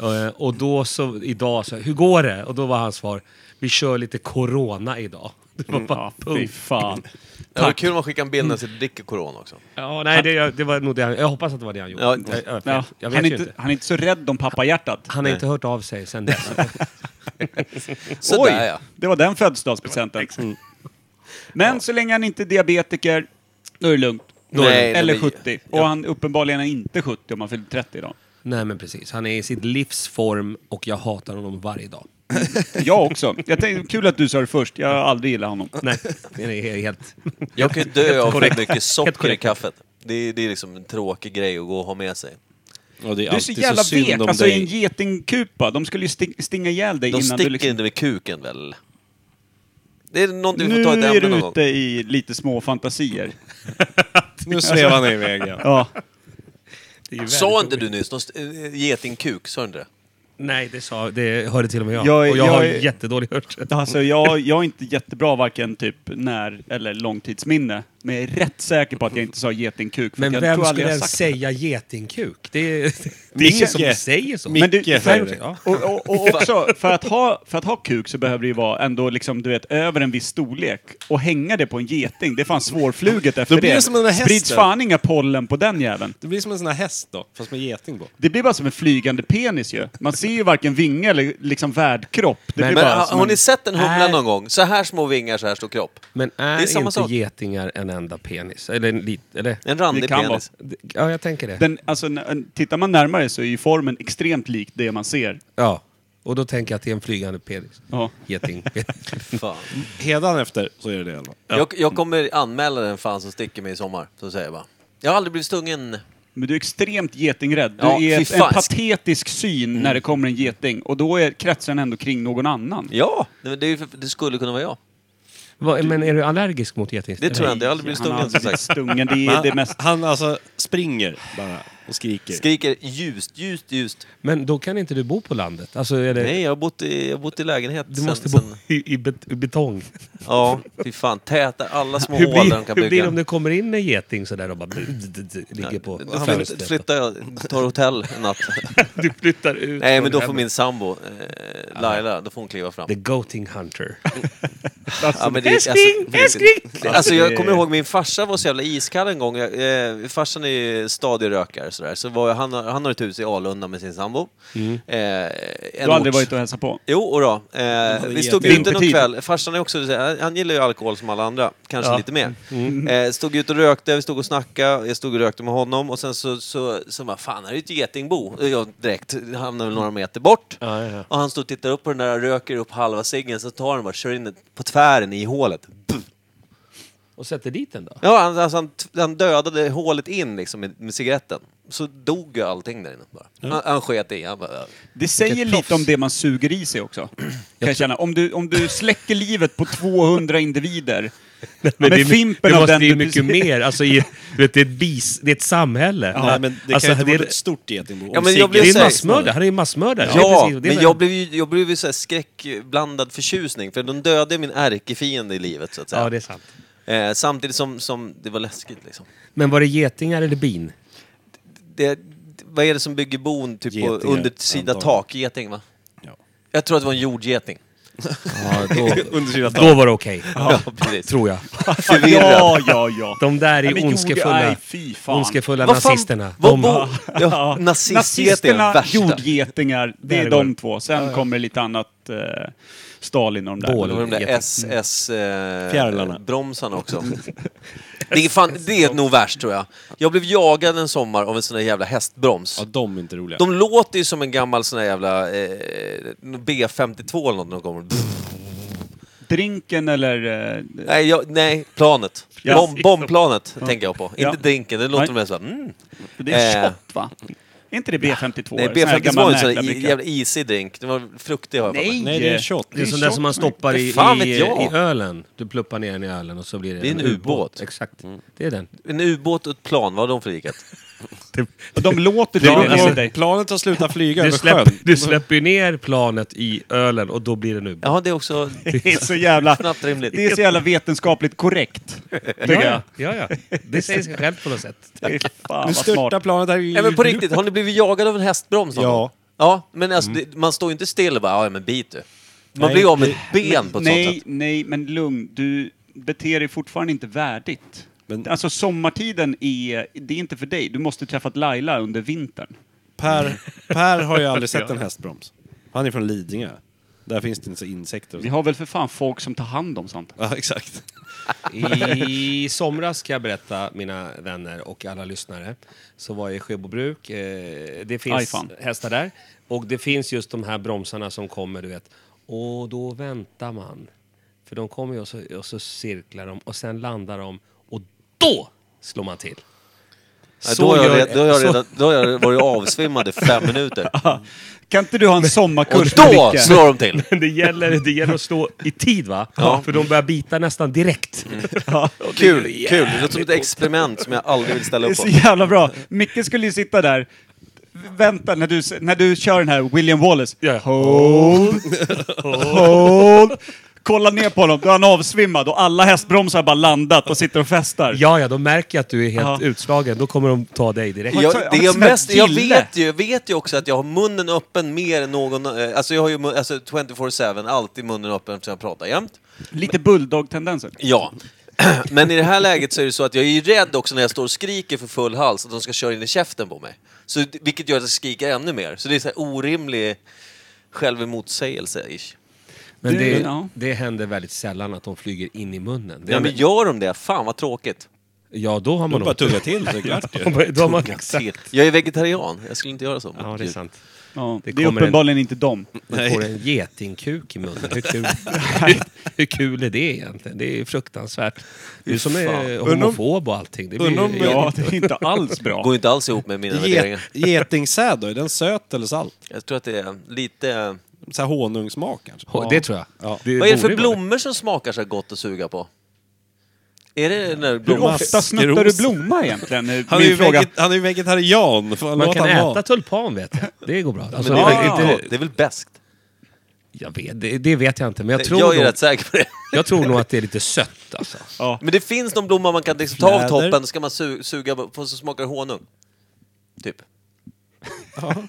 Eh, Och då så, idag så, hur går det? Och då var hans svar, vi kör lite corona idag. Det var bara
Ja, fy
punkt.
fan.
Ja, det var kul om man skickade en bild
Mm.
när han dricker corona också.
Ja, nej, det, det var nog det han, jag hoppas att det var det han gjorde.
Ja,
jag, jag,
Ja,
jag
han,
vet
är
ju
inte,
inte.
han är inte så rädd om pappahjärtat.
Han har inte hört av sig sen dess.
Sådär
Oj,
ja.
det var den födelsedagspresenten. Mm. Men så länge han inte är diabetiker, då är det lugnt.
Då är det- Nej,
Eller
men-
70. Och han uppenbarligen är inte 70 om han fyller 30 idag.
Nej men precis, han är i sitt livs form och jag hatar honom varje dag.
Jag också. Jag tänkte, kul att du sa det först. Jag har aldrig gillat honom.
Nej, det är helt...
Jag kan ju dö av
korrekt.
för mycket socker i
korrekt.
kaffet. Det är, det är liksom en tråkig grej att gå och ha med sig.
Och det är
Du är så
alltid
jävla
synd
vek.
om
Alltså i en
dig.
getingkupa. De skulle ju sting- stinga ihjäl dig
De
innan
sticker
du liksom...
inte med kuken väl? Det är någonting vi
Nu
får ta ett
är
ämne
du
någon gång.
ute i lite små fantasier.
Nu svävar han iväg igen.
Ja.
Sa inte du nyss någon st- eh, getingkuk? Sa du inte det?
Nej, det, sa, det hörde till och med jag.
Jag är-
och jag,
jag
har
är-
jättedålig hörsel.
Alltså jag, jag är inte jättebra varken typ när eller långtidsminne. Men jag är rätt säker på att jag inte sa getingkuk. för
Men
jag
vem
tror aldrig
skulle
jag
ens
sagt det.
säga getingkuk? Det är, det är ingen som
Micke.
säger så.
Micke säger det.
Ja.
Och, och, och också, för att, ha, för att ha kuk så behöver det ju vara ändå liksom, du vet, över en viss storlek. Och hänga det på en geting, det är fan svårfluget efter
blir det som den där hästen.
Sprids fan inga pollen på den jäveln.
Det blir som en sån här häst då, fast med geting på.
Det blir bara som en flygande penis ju. Man ser ju varken vinge eller liksom värdkropp. Det blir
Men
bara
har,
som
har
en-
ni sett en humla
Nej.
någon gång? Så här små vingar, så här stor kropp.
Men är,
Det är samma
inte
sak.
getingar en enda penis? Eller en lit, eller?
En randig
Det kan
penis.
Ja, jag tänker det.
Den, alltså, n- n- tittar man närmare så är ju formen extremt lik det man ser.
Ja. Och då tänker jag att det är en flygande penis.
Ja.
Geting.
Fan.
Hedan efter så är det det i alla fall.
Jag, jag kommer anmäla den fan som sticker mig i sommar. Så säger jag bara. Jag har aldrig blivit stungen.
Men du är extremt getingrädd. Du
Ja,
är
fy
ett, en
fan.
patetisk syn när det kommer en geting. Och då är kretsen ändå kring någon annan.
Ja, nej, men det, är ju för- det skulle kunna vara jag.
Vad- Men är du allergisk mot getingställ?
Det tror jag inte. Jag har aldrig blivit
Han har
stungen som
blivit
sagt.
stungen. Det är det mest...
Han alltså springer bara och skriker.
Skriker ljust, ljust, ljust.
Men då kan inte du bo på landet? Alltså, är det...
Nej, jag har bott i, jag har bott i lägenhet.
Du
sen-
måste bo
sen-
i, i bet- i betong.
Ja, fy fan. Täta alla små
Hur
hål där de
blir,
kan
hur blir det
bygga.
om det kommer in en geting sådär och bara d- d- d- ligger på
Han flytt-
fönstret?
flyttar jag, tar hotell en natt.
Du flyttar ut.
Nej,
från
men då får
hemmet.
min sambo, eh, Laila, då får hon kliva fram.
The Goating Hunter.
Ja, men det, alltså, älskling! Alltså jag kommer ihåg min farsa var så jävla iskall en gång. Jag, eh, farsan är ju stadig rökare sådär. Så var jag, han, har- han har ett hus i Alunda med sin sambo. Eh, en
Du har aldrig
ort-
varit och hälsat på.
Jo, och då. Eh, vi stod
jätte-
ute någon
Vintertid.
kväll. Farsan är också, så här, han gillar ju alkohol som alla andra, kanske lite mer. Eh, stod ute och rökte, vi stod och snackade, jag stod och rökte med honom och sen så, så, så bara, fan här är ju ett getingbo. Och Jag direkt hamnade väl några meter bort. Och han stod och tittar upp på den där, röker upp halva ciggen, så tar han bara, kör in den på tvären i hålet. Buff.
Och sätter dit den då?
Ja, han, alltså, han, t- han dödade hålet in liksom med, med cigaretten. Så dog ju allting där inne bara. Han, han sket i, han bara, "Ja."
Det säger lite om det man suger i sig också. Kan jag känna. Om du, om du släcker livet på 200 individer med
det, är-
fimpen
det
av
måste
den
ju
du
mycket
precis-
mer. Alltså, i, du vet, det, är ett bis, det är ett samhälle.
Ja, men det
Alltså,
kan ju inte
det,
vara
är,
ett stort getingbo. Om
Ja, men jag
Sigge-
blir
det är
så
en
här-
massmördare. Han är ju massmördare.
Ja,
precis, det är
men
väl-
jag blev ju, jag blev ju så här skräckblandad förtjusning för de dödade min ärkefiende i livet så att säga.
Ja, det är sant.
eh, samtidigt som, som det var läskigt liksom.
Men var det getingar eller bin?
Det, vad är det som bygger bon typ på
Getingar,
undersida
antagligen.
tak? Geting va?
Ja.
Jag tror att det var en jordgeting.
Ja, då,
Undersidan
då var det okej.
Ja, precis.
Tror jag.
Förvirrad.
Ja, ja, ja.
De där
Nej,
är
men gjorde-
ondskefulla,
nej, fy fan.
ondskefulla
Vad fan-
nazisterna.
vad
De-
bo- ja, nazistgeting är den
Nazisterna,
värsta.
jordgetingar, det
Där
är
är
de
det.
två. Sen kommer lite annat eh, Stalin och de där.
Bål.
Det var de där
Geting.
SS-bromsarna
Fjärilarna.
eh, bromsarna också. det, är fan, det är nog värst tror jag. Jag blev jagad en sommar av en sån där jävla hästbroms.
Ja, de är inte roliga.
De låter ju som en gammal sån här jävla eh, B52 eller något när de kommer. Pff.
Drinken eller... Eh,
Nej, jag, nej, planet.
Ja.
Bomb, bombplanet tänker jag på.
Ja.
Inte drinken, det låter
Nej.
mer såhär... Mm.
det är
Eh.
shot, va? Är inte det B52?
Nej,
Sån här
B52
gammal
var en sån där i-
mäklarbricka.
jävla isig drink. Den var fruktig har jag för mig.
Nej!
Nej, det är en shot.
Det är sån där som man stoppar i,
Fan vet
i,
jag.
i ölen. Du pluppar ner den i ölen och så blir det,
Det är en ubåt.
Exakt. Det är den.
En ubåt och ett plan, vad har de för likat?
Och de låter
Plan-
tydligen enligt dig.
planet har slutat flyga
Du,
över
släpp,
sjön.
du släpper ju ner planet i ölen och då blir det en ubåt.
Ja, det är också
Det är så jävla...
knappt rimligt.
Det är så jävla vetenskapligt korrekt. Tycker jag.
ja, ja. Det säger sig självt på något sätt.
Fy Fan
Nu
vad smart.
störtar planet här i...
Nej men på riktigt, har ni blivit jagad av en hästbroms någon
Ja.
gång? Ja, men alltså,
Mm.
det, man står ju inte still och bara ja, men bit du. Man blir av med ett ben på ett sånt
Nej,
sätt.
nej, men lugn. Du beter dig fortfarande inte värdigt.
Men-
Alltså sommartiden är, det är inte för dig. Du måste träffat Laila under vintern.
Per, per har ju aldrig sett en hästbroms. Han är från Lidingö. Där finns det inte så insekter och
Vi
så.
har väl för fan folk som tar hand om sånt.
Ja, exakt.
I somras kan jag berätta, mina vänner och alla lyssnare, så var jag i Sjöbobruk. Eh, Det
Aj,
finns
fan.
hästar där. Och det finns just de här bromsarna som kommer, du vet. Och då väntar man. För de kommer ju och så, och så cirklar de och sen landar de och då slår man till.
Ja, då, har jag,
gör-
re- då, har jag
så-
redan, då har jag varit avsvimmad i fem minuter.
Kan inte du ha en
Och
sommarkurs med
då
Micke?
slår de till!
Men det gäller, det gäller att stå i tid va?
Ja. Mm.
För de börjar bita nästan direkt.
Kul, kul. Det låter som ett experiment som jag aldrig vill ställa
Det är
upp på.
så jävla bra. Micke skulle ju sitta där. Vänta när du, när du kör den här William Wallace. Hold. Hold. Kolla ner på honom. Då är han avsvimmad och alla hästbromsar har bara landat och sitter och festar.
Ja, ja, de märker att du är helt
Ja.
utslagen. Då kommer de ta dig direkt.
Ja.
Jag,
Han
det
är
jag,
som en
mest, jag
gille.
vet ju, jag vet ju också att jag har munnen öppen mer än någon... eh, Alltså jag har ju mun- alltså 24-7 alltid munnen öppen eftersom jag pratar jämt.
Lite bulldog-tendenser.
Ja. Men i det här läget så är det så att jag är ju rädd också när jag står och skriker för full hals att de ska köra in i käften på mig. Så, det- vilket gör att jag skriker ännu mer. Så det är så här orimlig självemotsägelse. ish.
Men
Du,
det,
ja.
det händer väldigt sällan att de flyger in i munnen. Det,
Ja, men gör de det? Fan vad tråkigt.
ja, då har
De
man
bara
nog...
tuggar till så är det klart ju.
Då har man, exakt.
Jag är vegetarian, jag skulle inte göra så.
Ja, det är sant.
Ja,
Det
det är
kommer en-
uppenbarligen inte dem.
Man får en getingkuk i munnen. Hur kul, hur, hur kul är det egentligen? Det är ju fruktansvärt. Du som är homofob och allting. Det blir,
Undra om-
Ja, det är inte alls
Går
bra.
ju inte alls ihop med mina värderingar.
Get, getingsäd då, är den söt eller salt?
Jag tror att det är lite...
Så här honungssmak kanske?
Ja, Det tror jag. Det
Vad är det för
borde vara
blommor som smakar så här gott att suga på? Är det den där
Hur
blomman?
ofta snuttar du blomma egentligen?
Han är, ju
Min fråga.
veget, han är ju vegetarian. Fan,
Man
låt
kan
han
äta
vara.
tulpan vet jag. Det går bra. Alltså,
Men det, är väl
det-
inte
inte-
gott? det är väl bäst?
jag vet, det, det vet jag inte, men jag tror,
Jag är
nog,
rätt säker på det.
jag tror nog att det är lite sött alltså.
Men det finns någon blomma man kan liksom ta av
Fläder.
toppen, ska man su suga på så smakar det honung. Typ.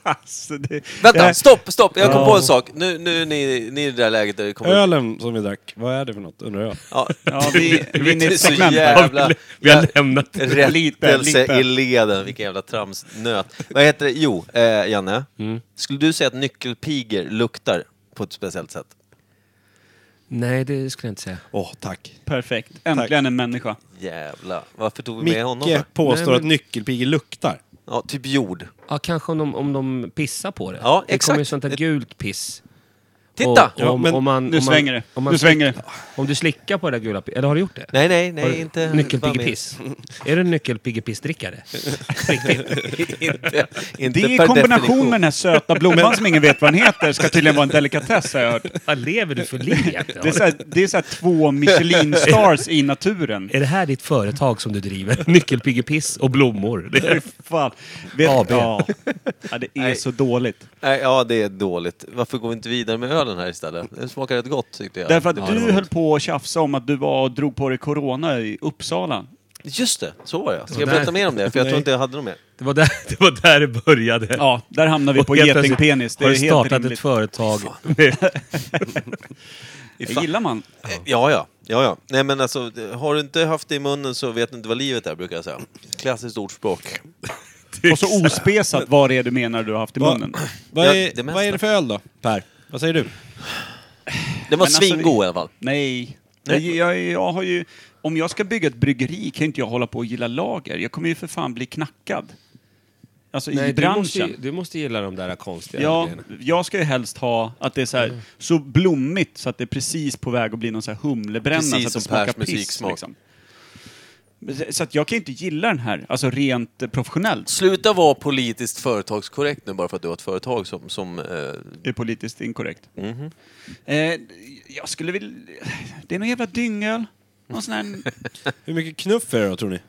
Alltså, det,
Vänta,
det-
stopp, stopp! Jag kom på en sak. Nu, nu är ni, ni är i det där läget där det kommer...
Ölen som vi drack, vad är det för något undrar jag?
Ja,
Ja, vi, vi är inne i
det är
ett
så
segment här.
jävla...
Vi har lämnat
Lite, lite.
Rättelse i leden, vilken jävla tramsnöt. Vad heter det? Jo, eh, Janne. Skulle du säga att nyckelpiger luktar på ett speciellt sätt?
Nej, det skulle jag inte säga.
Åh, tack.
Perfekt. Äntligen en människa.
Jävla. Varför tog vi med honom?
Micke
för?
påstår
Nej, men-
att nyckelpigor luktar.
Ja, typ jord.
Ja, kanske om de, om de pissar på det.
Ja,
Det kommer ju
exakt.
sånt där
Ett-
gult piss.
Titta!
Och, om,
men
om man,
Nu
om man,
svänger det.
Om, man
Nu svänger det.
om du slickar på det där gula pi- Eller har du gjort det?
Nej, nej, nej,
Har du-
inte...
Nyckelpiggepiss. är du en nyckelpiggepiss-drickare? Riktigt.
inte, inte
Det i
per
kombination
definition.
med den här söta blomman som ingen vet vad den heter ska tydligen vara en delikatess har jag hört.
Vad lever du för liv egentligen?
Det är så här, det är så här två Michelin stars i naturen.
Är det här ditt företag som du driver? Nyckelpiggepiss och blommor. Det är...
Fan. Vet,
AB.
ja. ja, det är
Nej.
så dåligt.
Nej, ja, det är dåligt. Varför går vi inte vidare med ölen här istället? Den smakar rätt gott, tyckte jag.
Därför att
Ja, det var
du
gott.
höll på att tjafsa om att du var och drog på dig corona i Uppsala.
Just det, så var jag. Ska
Ja,
jag
där-
berätta mer om det? För jag tror inte jag hade något mer.
Det, var där, det var där det började.
Ja, där hamnar vi
Och
på
helt plötsligt
getingpenis. Det
har
är
du startat
helt
ett
rimligt.
företag.
Det gillar man.
Eh, Ja, ja. ja, ja. Nej, men alltså, det- har du inte haft det i munnen så vet du inte vad livet är, brukar jag säga. Klassiskt ordspråk.
Och så ospesat vad det är du menar du har haft i
Va-
munnen.
Vad
Ja,
är,
det mesta.
vad är det för öl då, Per? Vad säger du?
Den var
Men alltså,
svingod
vi-
i alla fall.
Nej. Jag, jag, jag har ju, om jag ska bygga ett bryggeri kan inte jag hålla på och gilla lager. Jag kommer ju för fan bli knackad. Alltså i
du,
branschen.
måste, ju- du måste gilla de där konstiga
Ja,
grejerna.
jag ska ju helst ha att det är så, här, så blommigt så att det är precis på väg att bli någon så här humlebränna
Precis
så att det
som Pers
smakar piss.
musiksmak.
Liksom. Men så- Så att jag kan ju inte gilla den här, alltså rent eh, professionellt.
Sluta vara politiskt företagskorrekt nu bara för att du har ett företag som... som eh,
Det är politiskt inkorrekt. Eh, jag skulle vilja... Det är någon jävla dyngöl. Någon sån här...
Hur mycket knuff är det då, tror ni?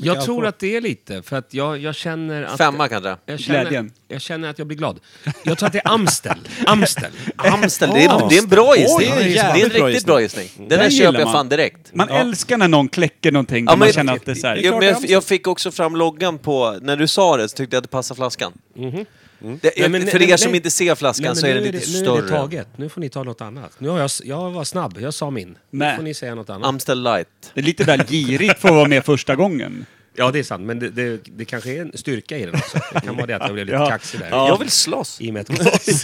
Jag
alkohol?
tror att det är lite, för att jag, jag känner att...
femma kanske?
Jag känner,
Glädjen.
jag känner att jag blir glad. Jag tror att det är Amstel. Amstel.
Amstel, det är, det är en bra gissning.
Oj,
det är en
jävligt bra
riktigt bra gissning. Den här
Den
köper
gillar
jag
man.
fan direkt.
Man älskar när någon kläcker någonting. där
Ja,
man känner att det är så här,
jo, men jag, jag fick också fram loggan på... När du sa det så tyckte jag att det passade flaskan. Mm. Det,
Nej, men-
för
nej,
er som
nej.
inte ser flaskan
Nej, men
så
nu
är den lite
Nu är det
större.
taget. Nu får ni ta något annat. Nu har jag, s- jag var snabb, jag sa min. Nu
Nej.
får ni säga något annat.
Amstel light.
det är lite väl girigt för att vara med första gången.
Ja, det är sant. Men det, det, det kanske är en styrka i den också. Det kan vara det att jag blev lite
Ja.
kaxig där.
Jag vill slåss.
I och med ett glas.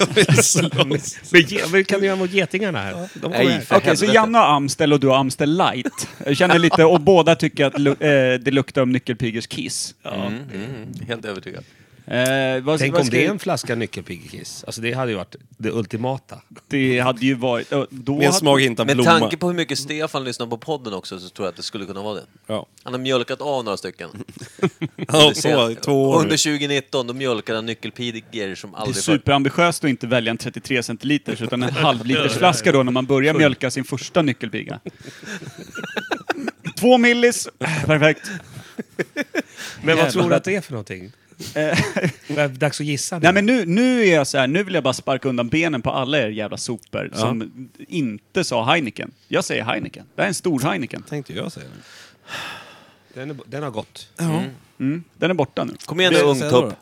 men, ge- men kan du göra mot getingarna här? De kommer
Nej,
här.
för-
Okej,
helvete.
så Janne har Amstel och du har Amstel light. Jag känner lite, och båda tycker att lu eh, det luktar om nyckelpigors kiss.
Mm, mm, helt övertygad.
Eh, vad,
Tänk
vad
om
ska-
det är en flaska nyckelpiggekiss. Alltså det hade ju varit det ultimata.
det hade ju varit... eh, Då
Med en
hade-
smakhinta
Med
blomma.
tanke på hur mycket Stefan lyssnar på podden också så tror jag att det skulle kunna vara det.
Ja.
Han har mjölkat av några stycken.
Ja, så, i två år
Under
nu.
2019, då mjölkade han nyckelpigor som
Det är
aldrig förr.
superambitiöst att inte välja en 33 centiliters utan en halvlitersflaska då när man börjar mjölka sin första nyckelpiga. Två millis, perfekt.
Men vad
Jävlar.
tror du att det är för någonting? Det är Dags att gissa nu.
Nej men nu, nu är jag så här, nu vill jag bara sparka undan benen på alla er jävla sopor som inte sa Heineken. Jag säger Heineken. Det här är en stor Heineken.
Tänkte jag säga det.
den, är, den har gått.
Den är borta nu.
Kom igen nu,
Vad säger jag
ungtupp.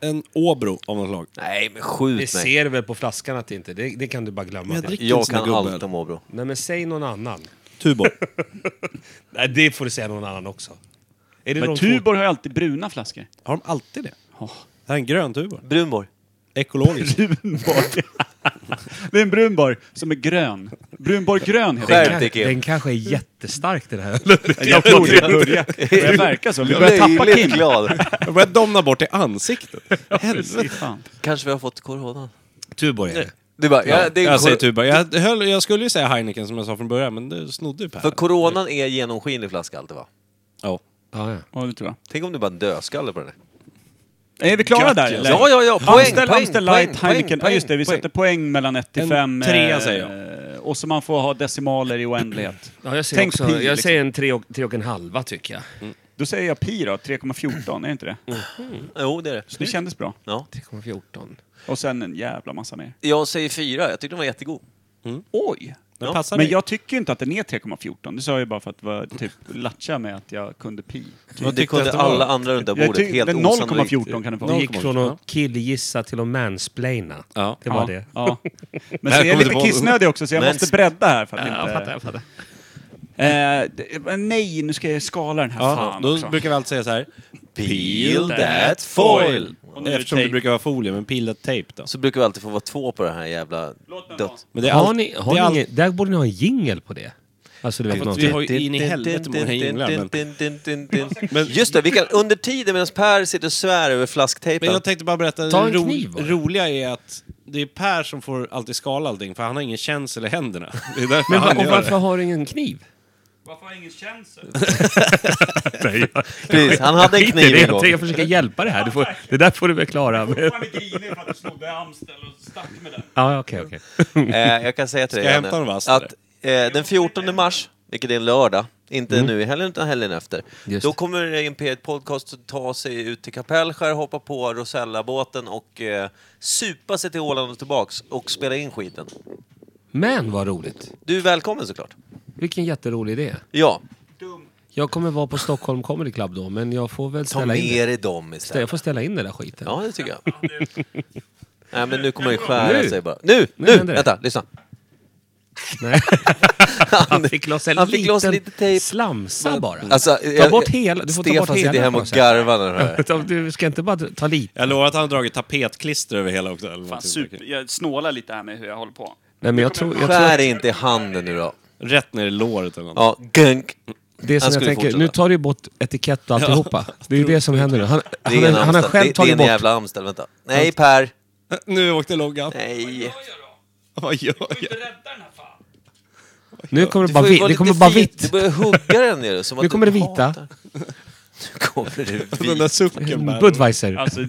då? En Åbro av något slag.
Nej, men
Det
skjut mig.
ser väl på flaskan att det inte... Det, det kan du bara glömma.
Jag dricker
Jag
inte såna
kan
gubbar.
allt om Åbro.
Nej men säg någon annan.
Tuborg.
Nej, det får du säga någon annan också. Är det
Men
de
Tuborg har ju alltid bruna flaskor.
Har de alltid det? Det här är en grön Tuborg.
Brunborg.
Ekologisk.
Brunborg. Det är en Brunborg som är grön. Brunborg grön heter
Skärp
den.
dig,
Den,
Kim.
den kanske är jättestark den här ölen.
Jag tror det börjar. Det verkar så. Vi börjar tappa
Löjligt
Kim.
glad.
Jag börjar domna bort i ansiktet. Helvete.
Fan.
Kanske vi har fått coronan.
Tuborg är det.
Du bara, ja, det är
Jag säger typ-
kor-
Tuba. Jag, höll, jag skulle ju säga Heineken som jag sa från början, men det snodde ju Per.
för coronan är genomskinlig flaska alltid va?
Ja.
Ja, ja.
Ja, det tror jag.
Tänk om du bara är en dödskalle på den där.
Är vi klara där eller?
Ja, ja, ja! Poäng,
Amstel,
poäng,
Amstel
poäng,
Light,
poäng,
Heineken. ja, just det, vi
poäng.
sätter poäng mellan 1 till
En
5.
trea, säger
Och så man får ha decimaler i oändlighet.
Ja, jag säger,
Tänk
också,
pi,
jag
liksom.
säger en tre och, tre och en halva tycker jag.
Då säger jag pi då, 3,14, är det inte det?
Jo, det är det.
Det kändes bra.
Ja.
3,14.
Och sen en jävla massa mer.
Jag säger fyra, jag tyckte den var jättegod.
Oj!
Den
Ja,
passar
Men
dig.
jag tycker ju inte att den är 3,14. Det sa jag ju bara för att vara typ latcha med att jag kunde pi.
Vad
Det
tyckte du
kunde
att var?
alla andra runt det
Jag
bordet,
tyckte
helt
0,14 kan det
Det
vara.
gick från att killgissa till att mansplaina.
Ja.
Det var det.
Ja. Men
Här
så jag är
kommer
lite
det på-
kissnödig också så jag
Men-
måste bredda här för att
Ja, jag fattar,
inte...
jag fattar.
Eh, det- men nej, nu ska jag skala den här
Ja,
fan
då
också.
brukar vi alltid säga så här.
Peel that foil!
Och nu är det
Eftersom det
tape.
brukar vara folie, men peel that tape då.
Så brukar vi alltid få vara två på det här jävla... Dött.
Men det är
Har
allt-
ni, har
det
ni
är allt-
ingen, där borde ni ha en jingel på det. Alltså du vet någonting.
Vi har ju in i helvete många jinglar, men...
Men just det, vi kan, under tiden medan Per sitter och svär över
Men
flasktejpen.
jag tänkte bara berätta,
Ta en
det ro-
kniv bara.
roliga är att det är Per som får alltid skala allting, för han har ingen känsel i händerna. Det är därför
Men
han
va- och
gör
varför
det.
har du ingen kniv?
Varför har jag ingen känsel?
Precis, han hade en
Skit i
kniv
det,
en
jag
gång.
tänkte försöka hjälpa dig här. Du får, det där får du väl klara. Men,
är grinig för att du snodde Amstel och stack med den.
ja, okej, okej.
Eh, jag kan säga till dig,
jag
Janne,
hämta en vass,
att eh, den 14 mars, vilket är en lördag, inte nu i helgen utan helgen efter,
Mm. Just
då
det.
kommer Imperiet Podcast att ta sig ut till Kapellskär, hoppa på Rosella-båten och eh, supa sig till Åland och tillbaks och spela in skiten.
Men vad roligt.
Du är välkommen såklart.
Vilken jätterolig idé.
Ja,
Jag kommer vara på Stockholm Comedy Club då, men jag får väl
ta
ställa in
med
det.
dig dem istället.
Jag får ställa in den där skiten.
Ja, det tycker jag. Nej, men nu kommer han ju skära
Nu.
sig bara. Nu!
Nu
Nu!
händer det.
Vänta, lyssna.
Nej.
Han
fick loss en
han fick
liten
loss lite tejp.
slamsa bara.
Alltså,
ta
jag-
bort hela. Du får ta
Stefan
bort hela.
sitter hemma och
på något sätt.
garvar när han hör det.
Ta- Du ska inte bara ta lite.
Jag lovar att han har dragit tapetklister över hela också. Eller
Fan,
någonting.
super. Jag snålar lite här med hur jag håller på.
Nej, men jag tror, jag tror
Skär
att
inte i handen nu då.
Rätt ner i låret eller något.
Ja, gunk.
det som
Han
jag
skulle
tänker,
fortsätta.
nu tar du ju bort etikett och alltihopa. Det är ju det som händer nu. Han,
Det
han,
är
han
en
har
Amstel.
själv
Det, det är
tagit
en
bort...
jävla Amstel, vänta. Nej Per!
Nu åkte loggan.
Nej.
Vad gör jag?
Nu kommer det
Du
bara,
får ju
vi,
vara
det kommer
lite
bara
fin. Du
vitt.
börjar hugga den ner som att
Nu kommer det
du
vita.
hatar. Nu kommer det
Den där
vita.
sucken Per.
Budweiser.
Alltså,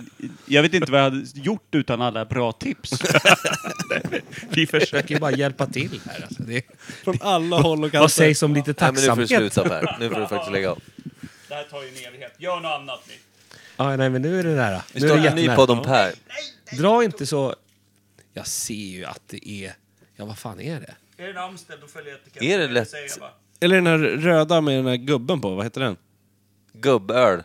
jag vet inte vad jag hade gjort utan alla bra tips.
Vi försöker.
försöker ju bara hjälpa till här. Alltså. Det,
Från alla håll och
vad
kanter.
sägs om lite
Nej men nu får du
tacksamhet?
sluta Per. Nu får du faktiskt lägga av.
Det här tar ju en evighet. Gör något annat nu.
Ja, nej, men nu är det nära.
Vi
Nu är det
startar en ny
jättenära.
podd om Per.
Dra inte så... Jag ser ju att det är... Ja, vad fan är det?
Är det en Amstel, då följer etiketten.
Är det lätt?
Eller den här röda med den här gubben på, vad heter den?
Gubböl.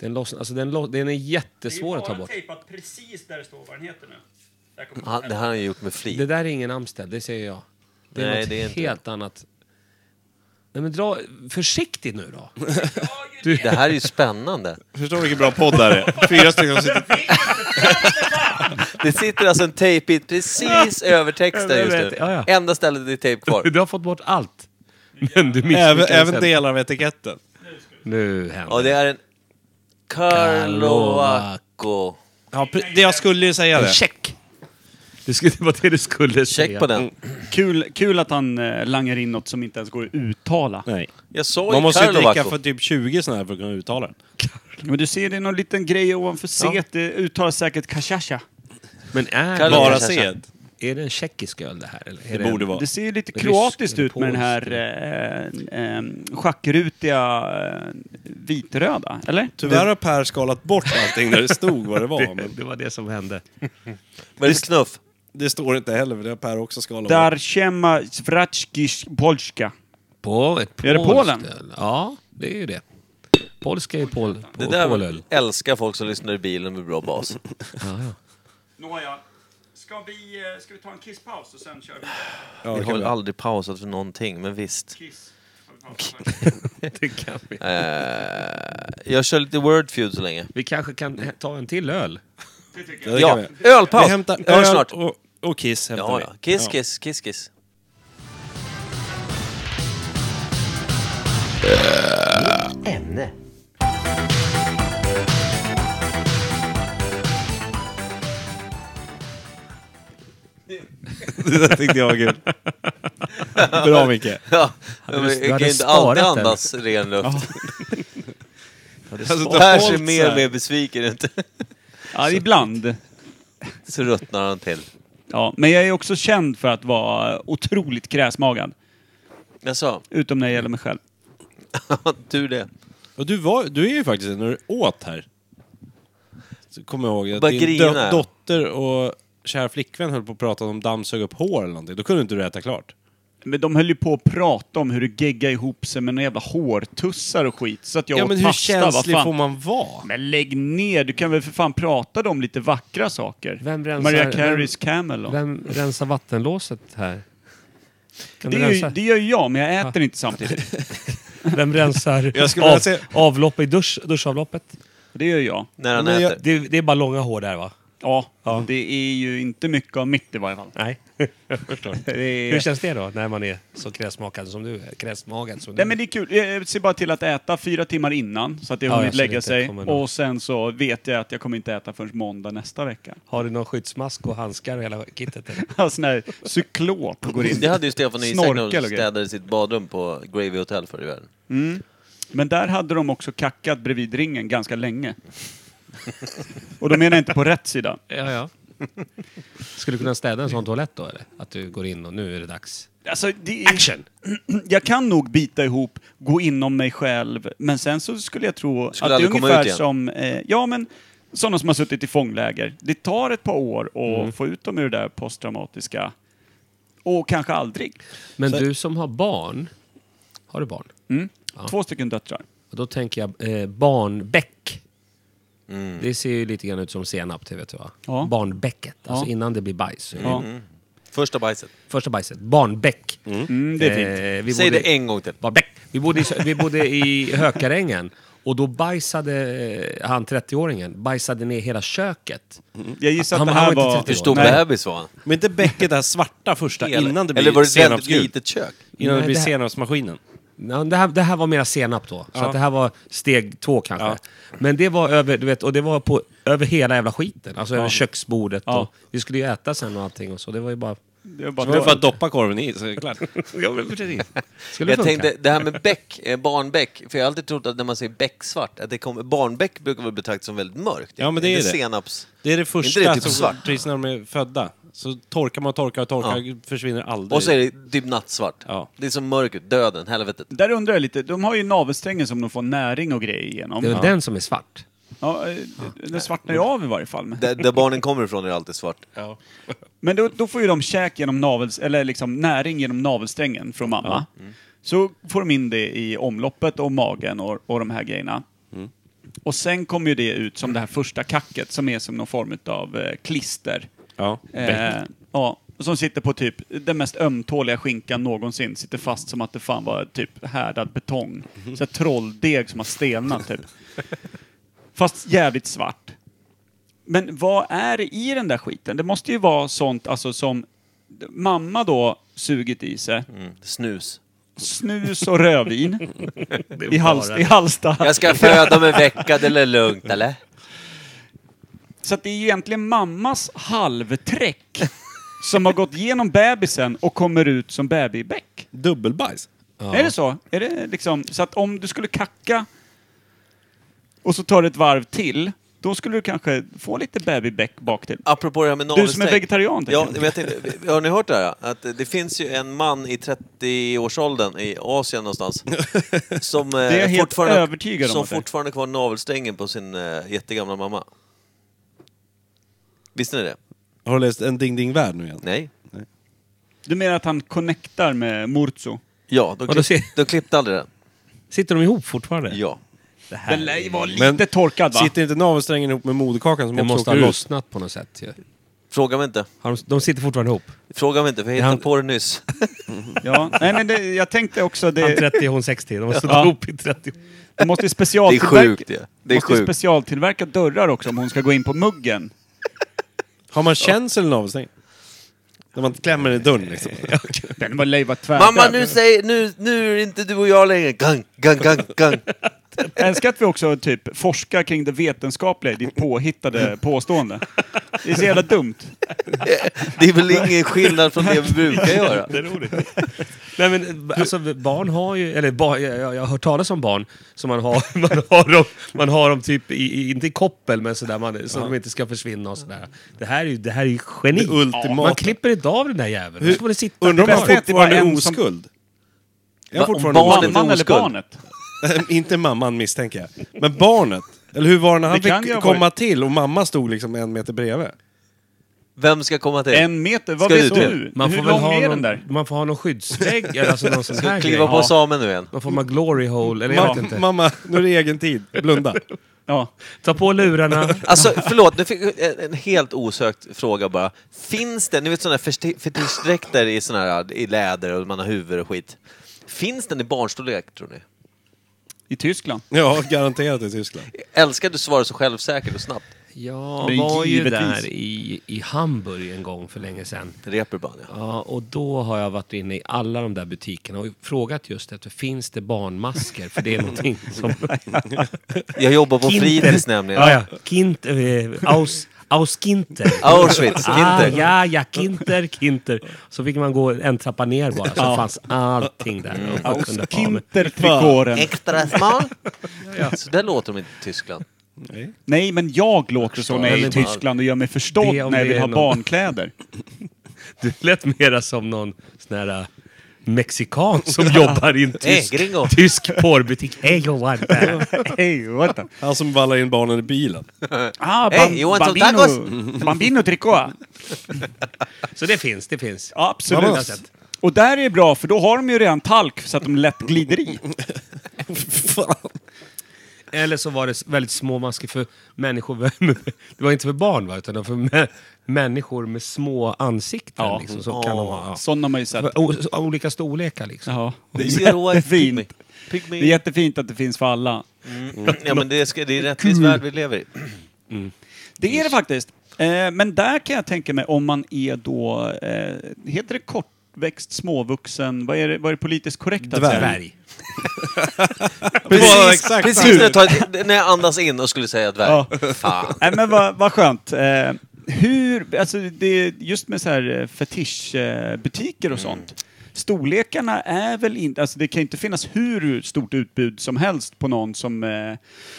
Den, loss, alltså den, lo- den är jättesvår att ta bort.
tejpat precis där det står vad den heter nu.
Han, det här har han ju gjort med flit.
Det där är ingen Amstel, det säger jag. Det är
Nej,
något
det är inte
helt annat. Nej men dra försiktigt nu då.
Det här är ju spännande.
Förstår du vilken bra podd det här är? Fyra stycken som sitter...
Det sitter alltså en tejpbit precis över texten
Jag
just
vet,
nu.
ja, ja.
Enda stället det är tejp kvar.
Du har fått bort allt. Men du
Även,
misslyckades.
även
ändå.
delar av etiketten.
Nu händer
Och det
det.
är en Karloako.
Ja, pre- det jag skulle ju säga det.
Check! Det skulle- det var det du skulle
Check
säga.
på den.
Kul, kul att han eh, langar in något som inte ens går att uttala.
Nej.
Jag sa ju
Man måste ju dricka
Karloako.
för typ 20 sådana här för att kunna uttala den.
Men du ser, det är någon liten grej ovanför C. Det uttalas säkert kashasha.
Men är,
Karlo-
Bara
kanske jag
sed.
är det en tjeckisk öl det här? Eller är
Det
en-
borde vara.
Det ser ju lite
Rysk
kroatiskt
eller
ut med den
polsk
här eh, eh, schackrutiga eh, vitröda, eller?
Tyvärr har Per skalat bort allting där det stod vad det var. Men
Det var det som hände.
Vad är det för knuff?
det står inte heller, för det har Per också skalat bort.
Darchema Svratskis Polska.
På ett
Är det
polskt
Polen?
öl. Ja, det är ju det. Polska är ju pol, po,
Det där
polöl.
älskar folk som lyssnar i bilen med bra bas.
Nåja, ska vi, eh, ska vi ta en kisspaus och sen kör vi
Ja,
Vi
det
har
kan
väl
vara.
aldrig pausat för någonting, men visst.
kiss?
Det kan vi.
Eh, jag kör lite Wordfeud så länge.
vi kanske kan ta en till öl.
det
Ja,
kan vi. Vi
ölpaus!
hämtar
Vi hörs snart.
öl och Och Kiss hämtar
Ja,
vi.
ja. Kiss, kiss, kiss, kiss.
Ämne.
Det där tyckte jag var kul. Bra Micke.
Ja,
Hade
men
du-
jag
du
kan
hade
ju inte alltid
sparat den.
andas ren luft.
Alltså, det har
Per ser
hållt
mer
så
och
här.
mer besviken ut.
Ja, ibland.
Så ruttnar han till.
Ja, men jag är också känd för att vara otroligt kräsmagad.
Jag sa,
Utom när det gäller mig själv.
tur det.
Och du, var, du är ju faktiskt det när du åt här. Så Kommer jag ihåg att
Bara
din
grina.
do- dotter och kära flickvän höll på att prata om dammsög upp hår eller någonting. Då kunde inte du äta klart.
Men de höll ju på att prata om hur du geggar ihop sig med några jävla hårtussar och skit. Så att jag
Ja
åt
men hur
pasta, vad
känslig
fan.
får man vara?
Men lägg ner, du kan väl för fan prata om lite vackra saker?
Vem rensar-
Maria Careys Camel då?
Vem rensar vattenlåset här? Kan
Det,
du
är ju,
rensa?
det gör ju jag, men jag äter inte samtidigt.
Vem rensar
Jag skulle vilja
av,
se-
avlopp i dusch, duschavloppet?
Det gör jag.
När han
Men jag-
äter.
Det, det är bara långa hår där va?
Ja, det är ju inte mycket av mitt i varje fall.
Nej.
Det är...
Hur känns det då, när man är så kräsmakad som du är? Kräsmagad som
Nej
du
men det är kul. Jag ser bara till att äta fyra timmar innan så att det
Ja,
har hunnit
ja, så det
lägga
inte
sig.
kommer någon-
Och sen så vet jag att jag kommer inte äta förrän måndag nästa vecka.
Har du någon skyddsmask och handskar och hela kittet? eller?
Alltså när cyklop går in.
Det hade ju Stefan Isak
Snorkel
när
och
de
grejer.
städade sitt badrum på Gravy Hotel förr i världen.
Men där hade de också kackat bredvid ringen ganska länge. Och då menar jag inte på rätt sida.
Ja, ja. Skulle du kunna städa en sån toalett då eller? Att du går in och nu är det dags.
Alltså, det är... Action! Jag kan nog bita ihop, gå inom mig själv, men sen så skulle jag tro
Skulle
att det är
aldrig komma
ungefär
ut igen.
som... Eh, ja, men sådana som har suttit i fångläger. Det tar ett par år att få ut dem ur det där posttraumatiska. Och kanske aldrig.
Men du som har barn, har du barn?
Mm. Två stycken döttrar.
Och då tänker jag eh, barnbäck. Det ser ju lite grann ut som senap, det vet du va?
Ja.
Barnbäcket, alltså
Ja.
innan det blir bajs.
Ja.
Första bajset.
Första bajset, barnbäck. Eh,
Mm, det är fint.
vi
Säg
bodde,
det en gång till.
Barnbäck. Vi bodde, i, vi bodde i Hökarängen och då bajsade eh, han 30-åringen, bajsade ner hela köket.
Jag gissar att
Han-
det
han
här
var inte
var...
tillräckligt
Hur stor
Nej.
bebis var han?
Men inte bäcket det här svarta första innan det
Eller var
blir
det ett väldigt
senapsgult?
litet kök?
Innan det
Nej,
blir
det här-
senapsmaskinen.
Ja, det, här, det här var mera senap då, så att det här var steg två kanske. Men det var över, du vet, och det var på, över hela jävla skiten, alltså över köksbordet.
Ja.
Och, vi skulle ju äta sen och allting och så, det var ju bara...
Det var bara
Det var för att doppa korven i så är det klart.
Ja, men precis. Skulle
Jag
funka.
tänkte, det här med bäck, eh, barnbäck, för jag har alltid trott att när man säger bäcksvart, att det kommer, barnbäck brukar väl betraktas som väldigt mörkt?
Ja, men det är
Inte
det.
Senaps.
Det är det första
Inte det, typ
som
svart?
precis när de är födda. Så torkar man och torkar och torkar, försvinner aldrig.
Och så är det typ nattsvart.
Ja.
Det är som mörkret, döden, helvetet.
Där undrar jag lite, de har ju navelsträngen som de får näring och grejer genom.
Det är väl
Ja.
den som är svart.
Ja, eh, den svartnar ju av i varje fall.
Där, där barnen kommer ifrån är det alltid svart.
Men då, då får ju de käk genom navels, eller liksom näring genom navelsträngen från mamma. Så får de in det i omloppet och magen och, och de här grejerna. Och sen kommer ju det ut som det här första kacket som är som någon form av eh, klister.
Ja.
Eh, ja, som sitter på typ den mest ömtåliga skinkan någonsin. Sitter fast som att det fan var typ härdad betong. Så här trolldeg som har stelnat typ. Fast jävligt svart. Men vad är det i den där skiten? Det måste ju vara sånt alltså som mamma då sugit i sig.
Mm. Snus.
Snus och rödvin i, hals, i Halsta.
Jag ska föda om en vecka, det är lugnt eller?
Så att det är ju egentligen mammas halvträck som har gått igenom bebisen och kommer ut som babybäck.
Dubbelbajs.
Är det så? Är det liksom, så att om du skulle kacka och så tar du ett varv till, då skulle du kanske få lite babybäck bak till.
Apropå det här med
är
navelsträng.
vegetarian, tänker
Ja,
jag.
men jag tänkte, har ni hört det här? Att det finns ju en man i 30-årsåldern i Asien någonstans. Som, det
är jag helt övertygad om
som
att det är.
fortfarande har kvar navelsträngen på sin eh, jättegamla mamma. Visste ni det?
Har du läst En Ding Ding Värld nu igen?
Nej?
Du menar att han connectar med Murzo?
Ja, de,
Vadå,
klipp,
se-
de klippte aldrig den.
Sitter de ihop fortfarande?
Ja.
Den lär ju vara lite
Men-
torkad va?
Sitter inte navelsträngen ihop med moderkakan som
Det
också
måste ha
åker ut?
lossnat på något sätt ju.
Fråga mig inte.
Har de, de sitter fortfarande ihop.
Fråga mig inte, för jag hittade
han-
på det nyss.
Ja. Nej, men det, jag tänkte också
Han
det,
30 och hon 60. De har suttit
Ja.
ihop i 30 år.
det måste ju
Det är
specialtillverka,
sjukt det. Det är
måste ju
sjukt.
specialtillverka dörrar också om hon ska gå in på muggen.
Har man känsel i navelsträngen? När man klämmer i dörren liksom.
Den var lejvat tvärdöd.
Mamma, nu, säg, nu, nu är det inte du och jag längre. Gang, gang, gang, gang.
Jag älskar att vi också typ forskar kring det vetenskapliga i ditt påhittade påstående. Det är så jävla dumt.
Det är väl ingen skillnad från det vi brukar göra.
Nej, men, alltså, barn har ju, eller barn, jag, jag jag har hört talas om barn som man har, man har dem, man har dem typ, i- i, inte i koppel, men sådär, man, så de inte ska försvinna och sådär. Det här är ju, det här är ju geni.
ultimata.
Man klipper inte av den där jäveln. Hur får det sitta
Undrar om
kvar.
han
Bästa är att det var
fortfarande är
en som-
oskuld? Jag har
Va- om
fortfarande
barnet-
oskuld.
Mamman eller
oskuld.
barnet?
Eh, Inte mamman misstänker jag. Men barnet. Eller hur var det när han
Det kan ju
fick
ha
komma
varit-
till och mamma stod liksom en meter bredvid?
Vem ska komma till?
En meter? Vad
Ska
vet
du det?
du?
Man
Hur
får väl
lång
ha
är
någon,
den där?
Man får ha någon skyddsvägg eller alltså någon sån här
Kliva
grej.
på samen nu igen.
Någon form av glory hole, eller jag vet
Ma
inte.
mamma, nu är det egen tid. Blunda.
Ja.
Ta på lurarna.
Alltså, förlåt, nu fick jag en, en helt osökt fråga bara. Finns det, ni vet sådana här festi- fetischdräkter i, såna här, i läder och man har huvud och skit. Finns den i barnstorlek, tror ni?
I Tyskland?
Ja, garanterat i Tyskland.
Älskar du svarar så självsäkert och snabbt.
Jag
Men
var ju
givetvis.
där i, i Hamburg en gång för länge sedan.
Reeperbahn, ja.
Ja, och då har jag varit inne i alla de där butikerna och frågat just efter, finns det barnmasker? För det är någonting som...
Jag jobbar på
Kinter.
fritids nämligen.
ja, ja. Kind, eh, aus, aus Kinter.
Auschwitz,
Ah,
Kinter.
ja, ja, Kinter, Kinter. Så fick man gå en trappa ner bara, så fanns allting där.
Mm.
Man kunde ha med.
Kintertrikåren.
Extra smal. Så där låter de inte i Tyskland.
Nej, men jag låter så när jag är i Tyskland och gör mig förstådd
Det om
när jag
det
vill
är
ha
någon-
barnkläder.
Det lät mera som någon sån här eh, mexikan som jobbar i en tysk,
Eh, gringo.
tysk porrbutik. Hey, jobbar där.
Hej, what the...
Han som vallar in barnen i bilen.
Ah,
Hey, you want some tacos?
Bambino trikå.
Så det finns, det finns.
Ja,
Vamos.
absolut. Och där är det bra, för då har de ju redan talk så att de lätt glider i.
Eller så var det s- väldigt små masker för människor. Det var inte för barn, va? utan det var för mä- människor med små ansikten.
Ja.
Liksom, så kan de ha. Ja.
Sådana har man ju sett.
För o- s- Olika storlekar liksom.
Ja. Det är
Zeroized pygmy.
jättefint.
Pygmy.
Det är jättefint att det finns för alla.
Mm. Ja, men det, ska, det är en rättvis värld vi lever i.
Det är det faktiskt. Eh, men där kan jag tänka mig om man är då, eh, heter det kortväxt, småvuxen, vad är det, vad är det politiskt korrekt att säga?
Dvärg.
var
Precis,
exakt
precis när, jag tar, när jag andas in och skulle säga dvärg. Fan.
Nej men vad, vad skönt. Eh, hur, alltså det, just med så här eh, fetischbutiker och sånt. Storlekarna är väl inte, alltså det kan ju inte finnas hur stort utbud som helst på någon som, eh,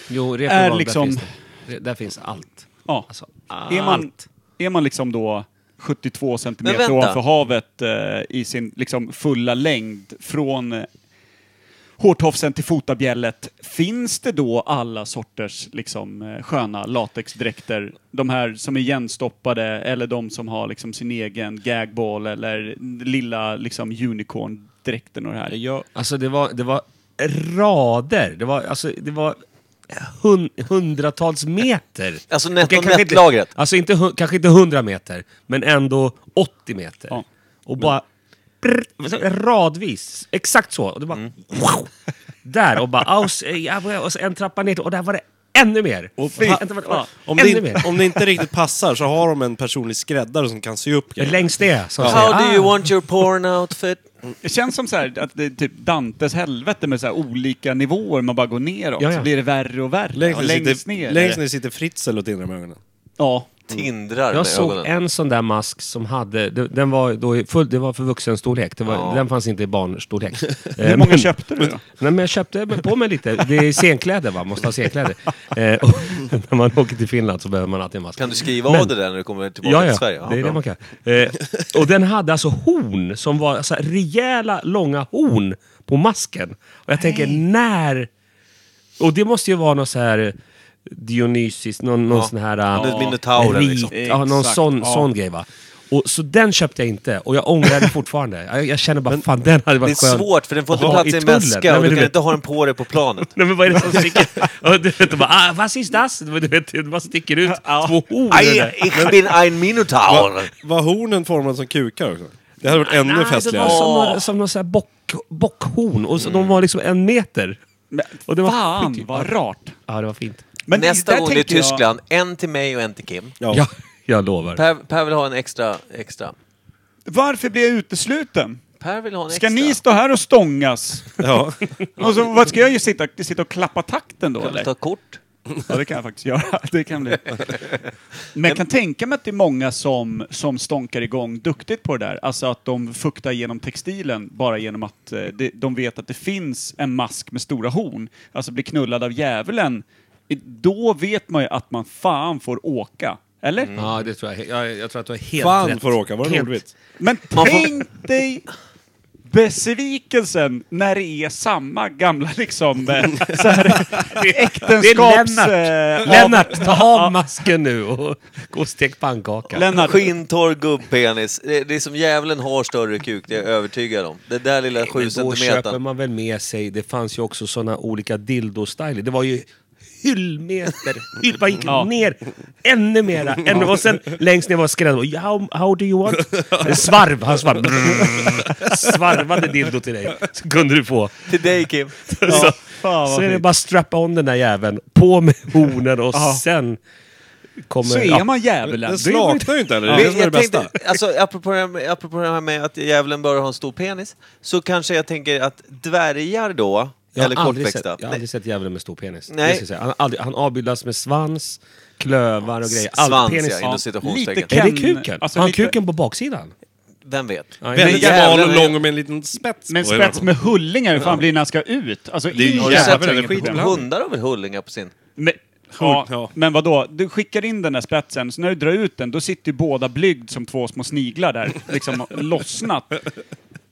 Jo,
Är
är
liksom-
liksom... där, finns det. Det- där finns allt.
ja.
Alltså,
är, man,
allt.
är man liksom då 72 centimeter
vänta.
ovanför havet eh, i sin liksom fulla längd från eh, hårtofsen till fotabjället, finns det då alla sorters liksom, eh, sköna latexdräkter? De här som är igenstoppade eller de som har liksom, sin egen gagball eller lilla liksom, unicorn-dräkten och det här?
Alltså det var, det var rader. Det var, alltså, det var hun, hundratals meter.
Alltså, netto-
Okej, kanske inte-
nettlagret.
Alltså inte, hu- kanske inte hundra meter, men ändå 80 meter.
Ja.
Och bara prr, så radvis. Exakt så. Och det bara, wow. Där och bara aus, eh, ja, och så en trappa ner till- och där var det ännu mer. Och
fy
ja,
Om
ännu
det, in,
mer.
om det inte riktigt passar så har de en personlig skräddare som kan sy upp grejer.
Längs det. Som säger,
How do you
ah,
want your porn outfit?
Det känns som så här, att det är typ Dantes helvete med så här olika nivåer man bara går neråt.
Ja, ja.
Så blir det värre och värre.
Längst
och
ner
längst
sitter,
ner.
längst ner sitter Fritzl och tindrar med ögonen.
Ja.
Tindrar
Jag
med
såg
ögonen.
en sån där mask som hade, det- den var då i full, det var för vuxenstorlek, det var,
Ja.
den fanns inte i barnstorlek.
Hur många köpte du då?
Nej men jag köpte på mig lite, det är scenkläder va, måste ha scenkläder. Eh, och när man åker till Finland så behöver man alltid en mask.
Kan du skriva
Men-
av det där när du kommer tillbaka
Ja, ja,
till Sverige? Ja,
det är
bra.
det man kan. Eh, och den hade alltså horn som var så här, rejäla långa horn på masken. Och jag tänker när... Och det måste ju vara någon så här Dionysis, någon, någon
Ja.
sån här... eh,
Någon minotaur eller liksom.
rit- Ja, någon
Exakt,
sån,
ja.
sån grej va. Och, så den köpte jag inte och jag ångrar det fortfarande. Jag, jag känner bara, fan den hade
Det är
varit skön.
svårt för den får inte
Ja,
plats
i
i en
tullen. Nej,
väska
men
och
du
du kan
vet.
inte ha den på dig på planet.
Nej men vad är det som sticker? Och du vet, de bara, ah, vad is das? Du vet, det bara sticker ut två horn. ur Oh, det.
Aj, ich bin ein minotaur!
Var hornen formade som kukar också? Det hade varit ännu
Nej, alltså, det var
festligare.
som, någon- som någon sån här bock, bockhorn. Och så, De var liksom en meter. Och det var
Fan
skit-
vad rart.
Ja, det var fint.
Men
Nästa
där
gång det är
tänker jag-
Tyskland, en till mig och en till Kim.
Ja.
jag lovar.
Per, per vill ha en extra, extra.
Varför blir jag utesluten?
Per vill ha en
Ska
extra.
ni stå här och stångas?
Ja.
Och så, vad ska jag ju sitta, sitta och klappa takten då
Kan du
eller?
ta kort?
Ja, det kan jag faktiskt göra. Det kan bli. Men jag kan tänka mig att det är många som, som stånkar igång duktigt på det där. Alltså att de fuktar genom textilen bara genom att eh, det- de vet att det finns en mask med stora horn. Alltså blir knullad av djävulen. I- Då vet man ju att man fan får åka. Eller?
Mm.
Ja, det tror jag. Jag, jag tror att du har helt
Fan
rätt.
får åka, var det
Helt-
ordvits?
Men
Man får-
tänk dig besvikelsen när det är samma gamla liksom eh, så här, äktenskaps...
Det är
eh,
Lennart, ta av masken.
Masken nu och gå och stek pannkaka.
Lennart,
Skinntorr gubbpenis. Det, det är som djävulen har större kuk, det är jag övertygad om. Det där lilla sju
Men Då köper
centimetern.
man väl med sig, det fanns ju också såna olika dildo-styler. Det var ju hyllmeter, hyll, man gick ner ännu mera. Ännu, och sen längst ner var skräddaren. How, how do you want? En Svarv, han svarv. Brrr. Svarvade dildo till dig. Så kunde du få.
Till dig Kim.
så
fan vad
så är det
fint.
bara att strappa on den där jäveln, på med hornen och sen kommer...
så är
ja.
man djävulen.
Den
Det är väl-
slaknar ju inte heller, det är det som är det
jag
bästa.
tänkte, alltså, apropå, det här med, apropå det här med att djävulen bör ha en stor penis, så kanske jag tänker att dvärgar då,
Jag har
eller
aldrig sett-
kortväxta,
Jag har aldrig sett djävulen med stor penis.
Nej.
Det ska jag säga. Han, har aldrig, han avbildas med svans, klövar och grejer. Allt
svans
penis.
ja, inom citationstecken.
Lite
Är det
Ken-
kuken?
alltså
har han
lite-
kuken på baksidan?
Vem vet?
Ja,
Väldigt
Men
smal
jävlar,
och lång och med en liten spets
Men
på i alla
spets
fall.
med hullingar, hur fan blir det när han ska ut? Alltså, det
är ju
Har du sett
Jävlar, det är skit
hur-
ibland.
hundar har väl hullingar på sin?
Men, ja,
ja.
men vadå? Du skickar in den där spetsen, så när du drar ut den, då sitter ju båda blygd som två små sniglar där. Liksom lossnat.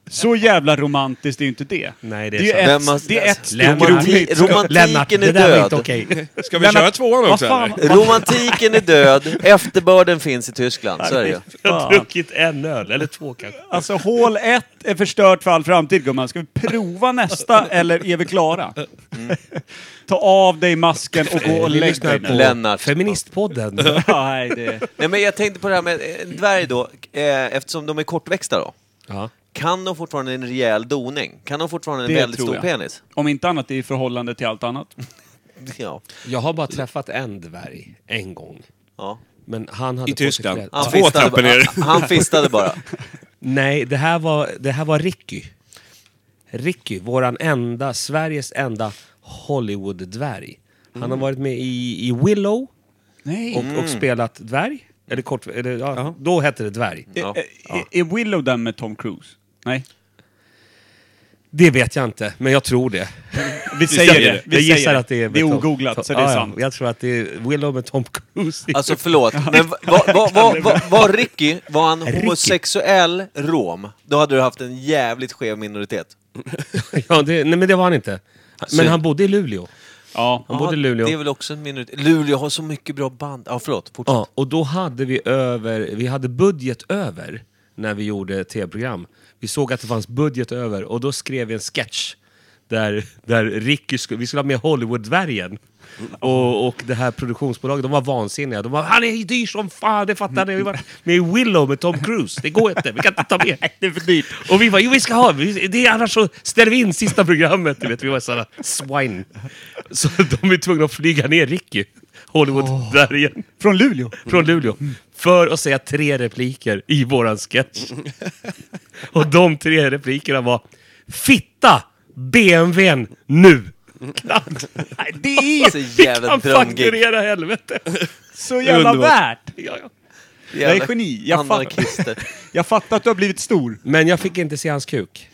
Så jävla romantiskt är ju inte det.
Nej, det är
det är,
sant.
ett,
Men man-
det är ett
alltså,
stycke
romantik-
roligt.
romantiken
Lennart,
är
det där var inte
död.
okej.
Ska vi köra tvåan
Vad
också
fan?
eller?
Romantiken är död, efterbörden finns i Tyskland, så är det ju.
Jag har druckit en öl, eller två kanske.
Alltså hål ett är förstört för all framtid gumman. Ska vi prova nästa eller är vi klara? Ta av dig masken och gå och
Mm. Vi
lägg
lyssnar
dig
på
nu.
Lennart.
Feministpodden.
Nej, det...
Nej, men jag tänkte på det här med eh, en dvärg då, eh, eftersom de är kortväxta då.
ja.
Kan de fortfarande en rejäl doning? Kan de fortfarande en
Det
väldigt
tror
stor
jag.
penis?
Om inte annat i förhållande till allt annat.
Ja.
Jag har bara träffat en dvärg en gång.
ja.
Men han hade
I
på sig
Tyskland.
kläder.
Han,
Två
fistade,
trappor ner.
bara- han fistade bara.
Nej, det här var, det här var Ricky. Ricky, våran enda, Sveriges enda Hollywood-dvärg. Han har varit med i, i Willow
Nej.
och, och spelat dvärg. Eller kort, eller, ja, då hette det dvärg.
Ja.
Är, Eh, är- är Willow den med Tom Cruise? Nej.
Det vet jag inte, men jag tror det.
Vi säger
säger
det.
jag
Vi
gissar
säger
att det är... med
Det är
Tom-
ogooglat, så det
Ja,
är
ja.
sant.
Jag tror att det är Willow med Tom Cruise.
Alltså förlåt, men va- va- va- va- va- var Ricky, var han homosexuell rom, då hade du haft en jävligt skev minoritet.
ja, det, nej, men det var han inte. Men
Så-
han bodde i Luleå.
Ja.
Han bodde i Luleå.
Det är väl också en minoritet. Luleå har så mycket bra band. Ja, förlåt. Fortsätt.
Ja, och då hade vi över, vi hade budget över när vi gjorde tv-program. Vi såg att det fanns budget över och då skrev vi en sketch där, där Ricky skulle, vi skulle ha med Hollywood-dvärgen. Och, och det här produktionsbolaget, de var vansinniga. De var han är dyr som fan, det fattar ni. Vi var med i Willow med Tom Cruise, det går inte, vi kan inte ta med. Det är för dyrt. Och vi var jo vi ska ha, vi, det är annars så ställer vi in sista programmet. Du vet, vi var sådana swine. Så de är tvungna att flyga ner Ricky, Hollywood-dvärgen
Från Luleå.
från Luleå Mm. för att säga tre repliker i våran sketch. Och de tre replikerna var Fitta! BMWn nu! Knappt. Nej, det är
Så
Vi
jävla
kan
drömgig.
fakturera helvete!
Så jävla
Underbart.
värt!
Ja, ja.
Jag är geni. Jag, fatt,
Anarkister.
jag fattar att du har blivit stor.
Men jag fick inte se hans kuk.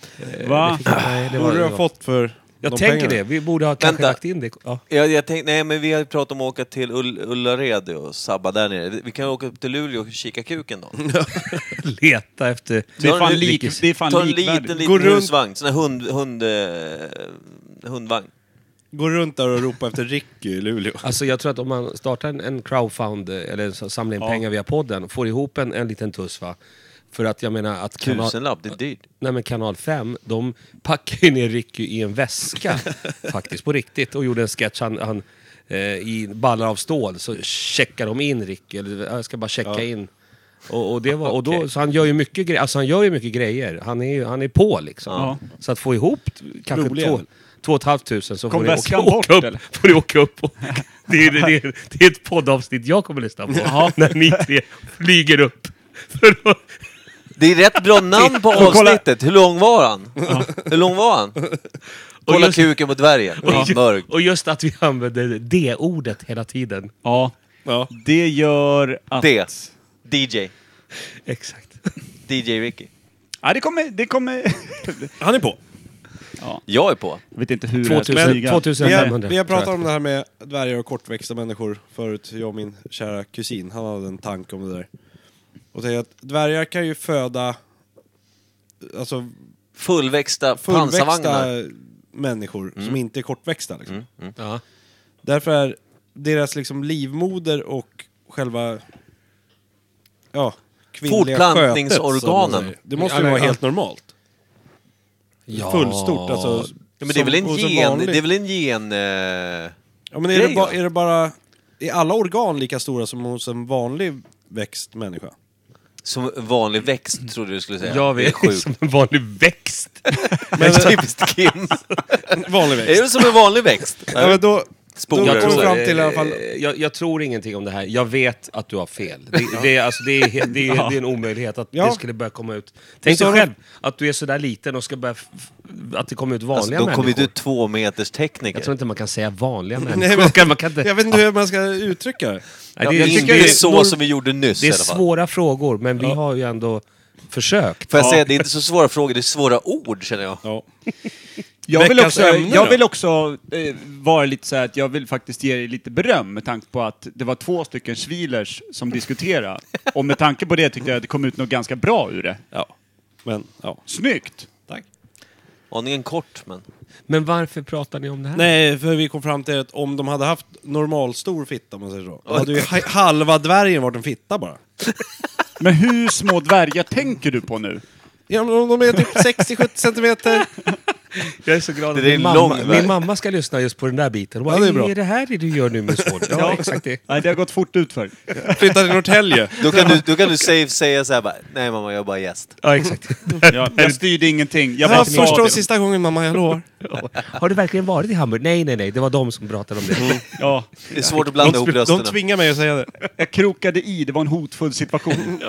Va?
Nej, det var,
Vad har
det
du
var.
fått för
Jag
de
tänker
pengarna?
det, vi borde ha kanske
Vänta.
lagt in det. Ja.
Ja, jag tänkte, nej men vi har ju pratat om att åka till Ull Ullared och sabba där nere. Vi kan ju åka upp till Luleå och kika kuken då.
Leta efter...
Det är
Ta
Typ fan,
en
lik,
likis.
det är fan
Ta en
likvärdigt.
liten,
Gå
liten
runt.
husvagn. Sån här hund, hund, eh, hundvagn.
Gå runt där och ropa efter Ricky i Luleå.
Alltså jag tror att om man startar en, en crowdfund, eh, eller så- samlar in pengar via podden, får ihop en, en liten tuss va. För att jag menar att... kanal-
Tusenlapp, det är dyrt.
Nej men kanal 5, de packade ju ner Ricky i en väska faktiskt på riktigt och gjorde en sketch. Han, han, eh, I ballar av stål så checkar de in Ricky, eller "Ja, jag ska bara checka in. Och, och det var, och då, så han gör ju mycket, gre- alltså han gör ju mycket grejer. Han är, ju- han är på liksom.
Ja.
Så att få ihop t- kanske
Rolig
två,
jävel.
två och ett halvt tusen så
Kom
får ni åka,
väskan
åka
bort,
upp.
eller?
Får ni åka upp och, det, är, det, är, det är ett poddavsnitt jag kommer lyssna på. När ni tre flyger upp. För att,
Det är rätt bra namn på
Och kolla-
avsnittet. Hur lång var han? Hur lång var han? Kolla
just-
kuken på dvärgen. Ja, mörk.
Och just att vi använder det ordet hela tiden.
Ja. Det gör att...
Det. DJ.
Exakt.
DJ Ricky.
Ja, det kommer... Det kommer...
Han är på.
Jag är på.
Jag vet inte hur det här
2000,
smyga.
Vi har,
2500.
vi har pratat
tror jag.
om det här med dvärgar och kortväxta människor förut, jag och min kära kusin. Han hade en tanke om det där. Och det är att dvärgar kan ju föda alltså,
Fullväxta,
fullväxta
pansarvagnar. Mm.
människor som inte är kortväxta. Liksom.
Ja.
Därför är deras liksom, livmoder och själva ja, kvinnliga
Fortplantningsorganen.
skötet, som man säger. Det måste ju
Ja,
vara
ja.
helt normalt. Fullstort alltså.
Ja, men det är väl en
som- och som
gen...
vanligt.
Det är väl en gen... Eh,
Ja, men är,
grej,
det ba,
va?
är det bara... Är alla organ lika stora som hos en vanlig växt människa?
som vanlig växt, trodde du skulle säga.
Jag
Det är
vet,
sjukt.
som en vanlig växt.
Men typiskt Kim.
Vanlig
Är det som en vanlig växt? Alltså,
Ja, men då, då
Spolar
kom
och så.
vi fram till i alla fall...
Eh, Jag, jag tror ingenting om det här. Jag vet att du har fel. Det, det, är- alltså, det, är, he- det, är, det är en omöjlighet att
Ja.
det skulle börja komma ut. Tänk
sa
dig
de-
själv att du är sådär liten och ska börja... f- f- Att det kommer ut
Alltså,
vanliga
då kommer
människor.
du två meters tekniker.
Jag tror inte man kan säga vanliga människor.
Nej,
man
men-
kan, man kan inte,
Jag vet inte hur man ska uttrycka det.
Nej,
Ja,
det,
det,
jag
är
tycker
inte
det, är,
så
nor-
som vi gjorde nyss
det
i
är
alla fall.
svåra frågor, men vi har ju ändå försökt.
Får jag säga, det är inte så svåra frågor, det är svåra ord känner jag.
Jag vill
Veckans
också,
ämne
jag
då?
vill också eh, vara lite så här att jag vill faktiskt ge er lite beröm med tanke på att det var två stycken svilers som diskuterade. Och med tanke på det tyckte jag att det kom ut något ganska bra ur det.
Ja. Men, ja.
Snyggt!
Aningen kort, men...
Men varför pratar ni om det här?
Nej, för vi kom fram till att om de hade haft normalstor fitta, om man säger så, då hade ju ha- halva dvärgen varit en fitta bara.
Men hur små dvärgar tänker du på nu?
Ja, men om de är typ 60-70 centimeter.
Jag är så glad
Det
att
är
min,
en lång
mamma,
väg.
min mamma ska lyssna just på den där biten. Hon
Ja,
Bara,
det är
är,
bra.
det här det du gör nu med svårt? Ja, exakt det.
Nej, det har gått fort ut för.
Flyttar till Norrtälje.
Då kan du, då kan du safe säga så här bara, nej mamma, jag är bara gäst.
Ja, exakt.
Jag, jag styrde ingenting. Jag bara
Ja,
sa
första och
det.
sista gången mamma, jag lovar.
Har du verkligen varit i Hamburg? Nej, nej, nej. Det var de som pratade om det.
Ja,
Det är svårt att
De,
blanda ihop
tv- de
rösterna.
tvingar mig att säga det.
jag krokade i, det var en hotfull situation.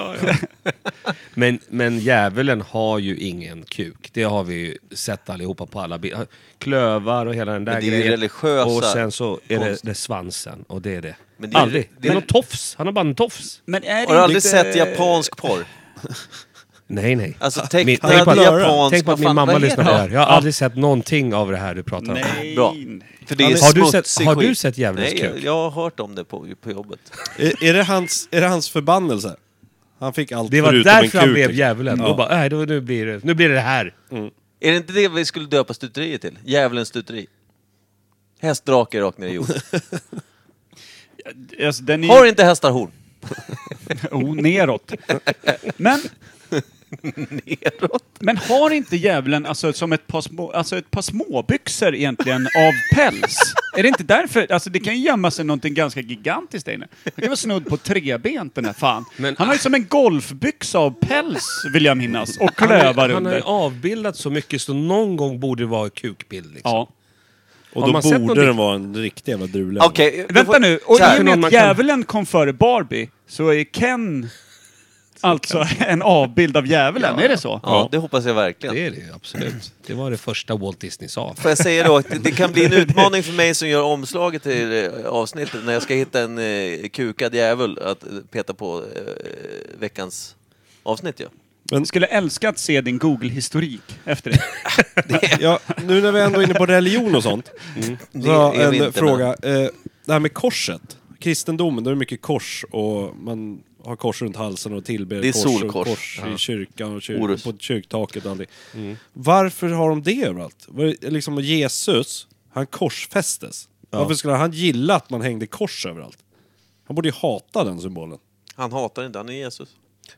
Men, men djävulen har ju ingen kuk. Det har vi ju sett allihopa på alla bilder. Klövar och hela den där
Men det är ju
grejen.
religiösa
Och sen så är det,
konst.
det är svansen. Och det är det.
Men det är-
Aldrig.
det är-
Det är någon tofs. Han har bara en tofs.
Men är
Har du aldrig
inte-
sett japansk porr?
Nej, nej.
Alltså
Min-
tecknad
tänk på att-
japansk...
Tänk på att
vad
min
fan-
mamma
vad
lyssnar på
heter
det här. Jag har aldrig sett någonting av det här du pratar om.
Nej.
Bra. För det är
Har du sett-
smutsig
har du
skit.
sett djävulens
Nej, jag,
kuk?
jag har hört om det på, på jobbet.
Är, är, det hans, är det hans förbannelse? Han fick allt
Det var
förutom en
därför han
kuk,
blev
liksom.
djävulen. Då
Ja.
bara, nej, då, nu, blir det, nu blir det det här.
Är det inte det vi skulle döpa stuteriet till? Djävulens stuteri. Hästdrake rakt ner i jorden.
Alltså, den är
Har inte hästar horn?
Oh, neråt. Men... Men har inte djävulen alltså, som ett par, små, alltså, ett par småbyxor egentligen av päls? Är det inte därför? Alltså det kan ju gömma sig någonting ganska gigantiskt där inne. Han kan vara snudd på trebent den här fan.
Men-
han har ju som en golfbyxa av päls vill jag minnas. Och
Han,
klövar
har- han har ju
under.
avbildat så mycket så någon gång borde det vara en kukbild. Liksom.
Ja.
Och
Har
då
man sett
borde
någonting?
den vara en riktig jävla drula.
Okej. då
Vänta
får-
nu, och
så här.
i och med
Någon man
att
kan-
djävulen kom före Barbie så är Ken alltså en avbild av djävulen, är det så?
Ja, det hoppas jag verkligen.
Det är det ju, absolut. Det var det första Walt Disney sa.
Får jag säga då att det- det kan bli en utmaning för mig som gör omslaget till eh, avsnittet när jag ska hitta en eh, kukad djävul att eh, peta på eh, veckans avsnitt. Ja.
Jag skulle älska att se din Google-historik efter det.
Ja, nu när vi ändå är inne på religion och sånt.
Mm. Det
Så har
är
jag
vi
en
inte,
fråga. Eh, det här med korset. Kristendomen, då är det mycket kors och man har kors runt halsen och tillber
Det är
kors och
solkors.
kors i kyrkan och
Orus.
kyr- på kyrktaket och allting.
Mm.
Varför har de det överallt? Var det Liksom Jesus, han korsfästes. Varför skulle han gilla att man hängde kors överallt? Han borde ju hata den symbolen.
Han hatar inte, han är Jesus.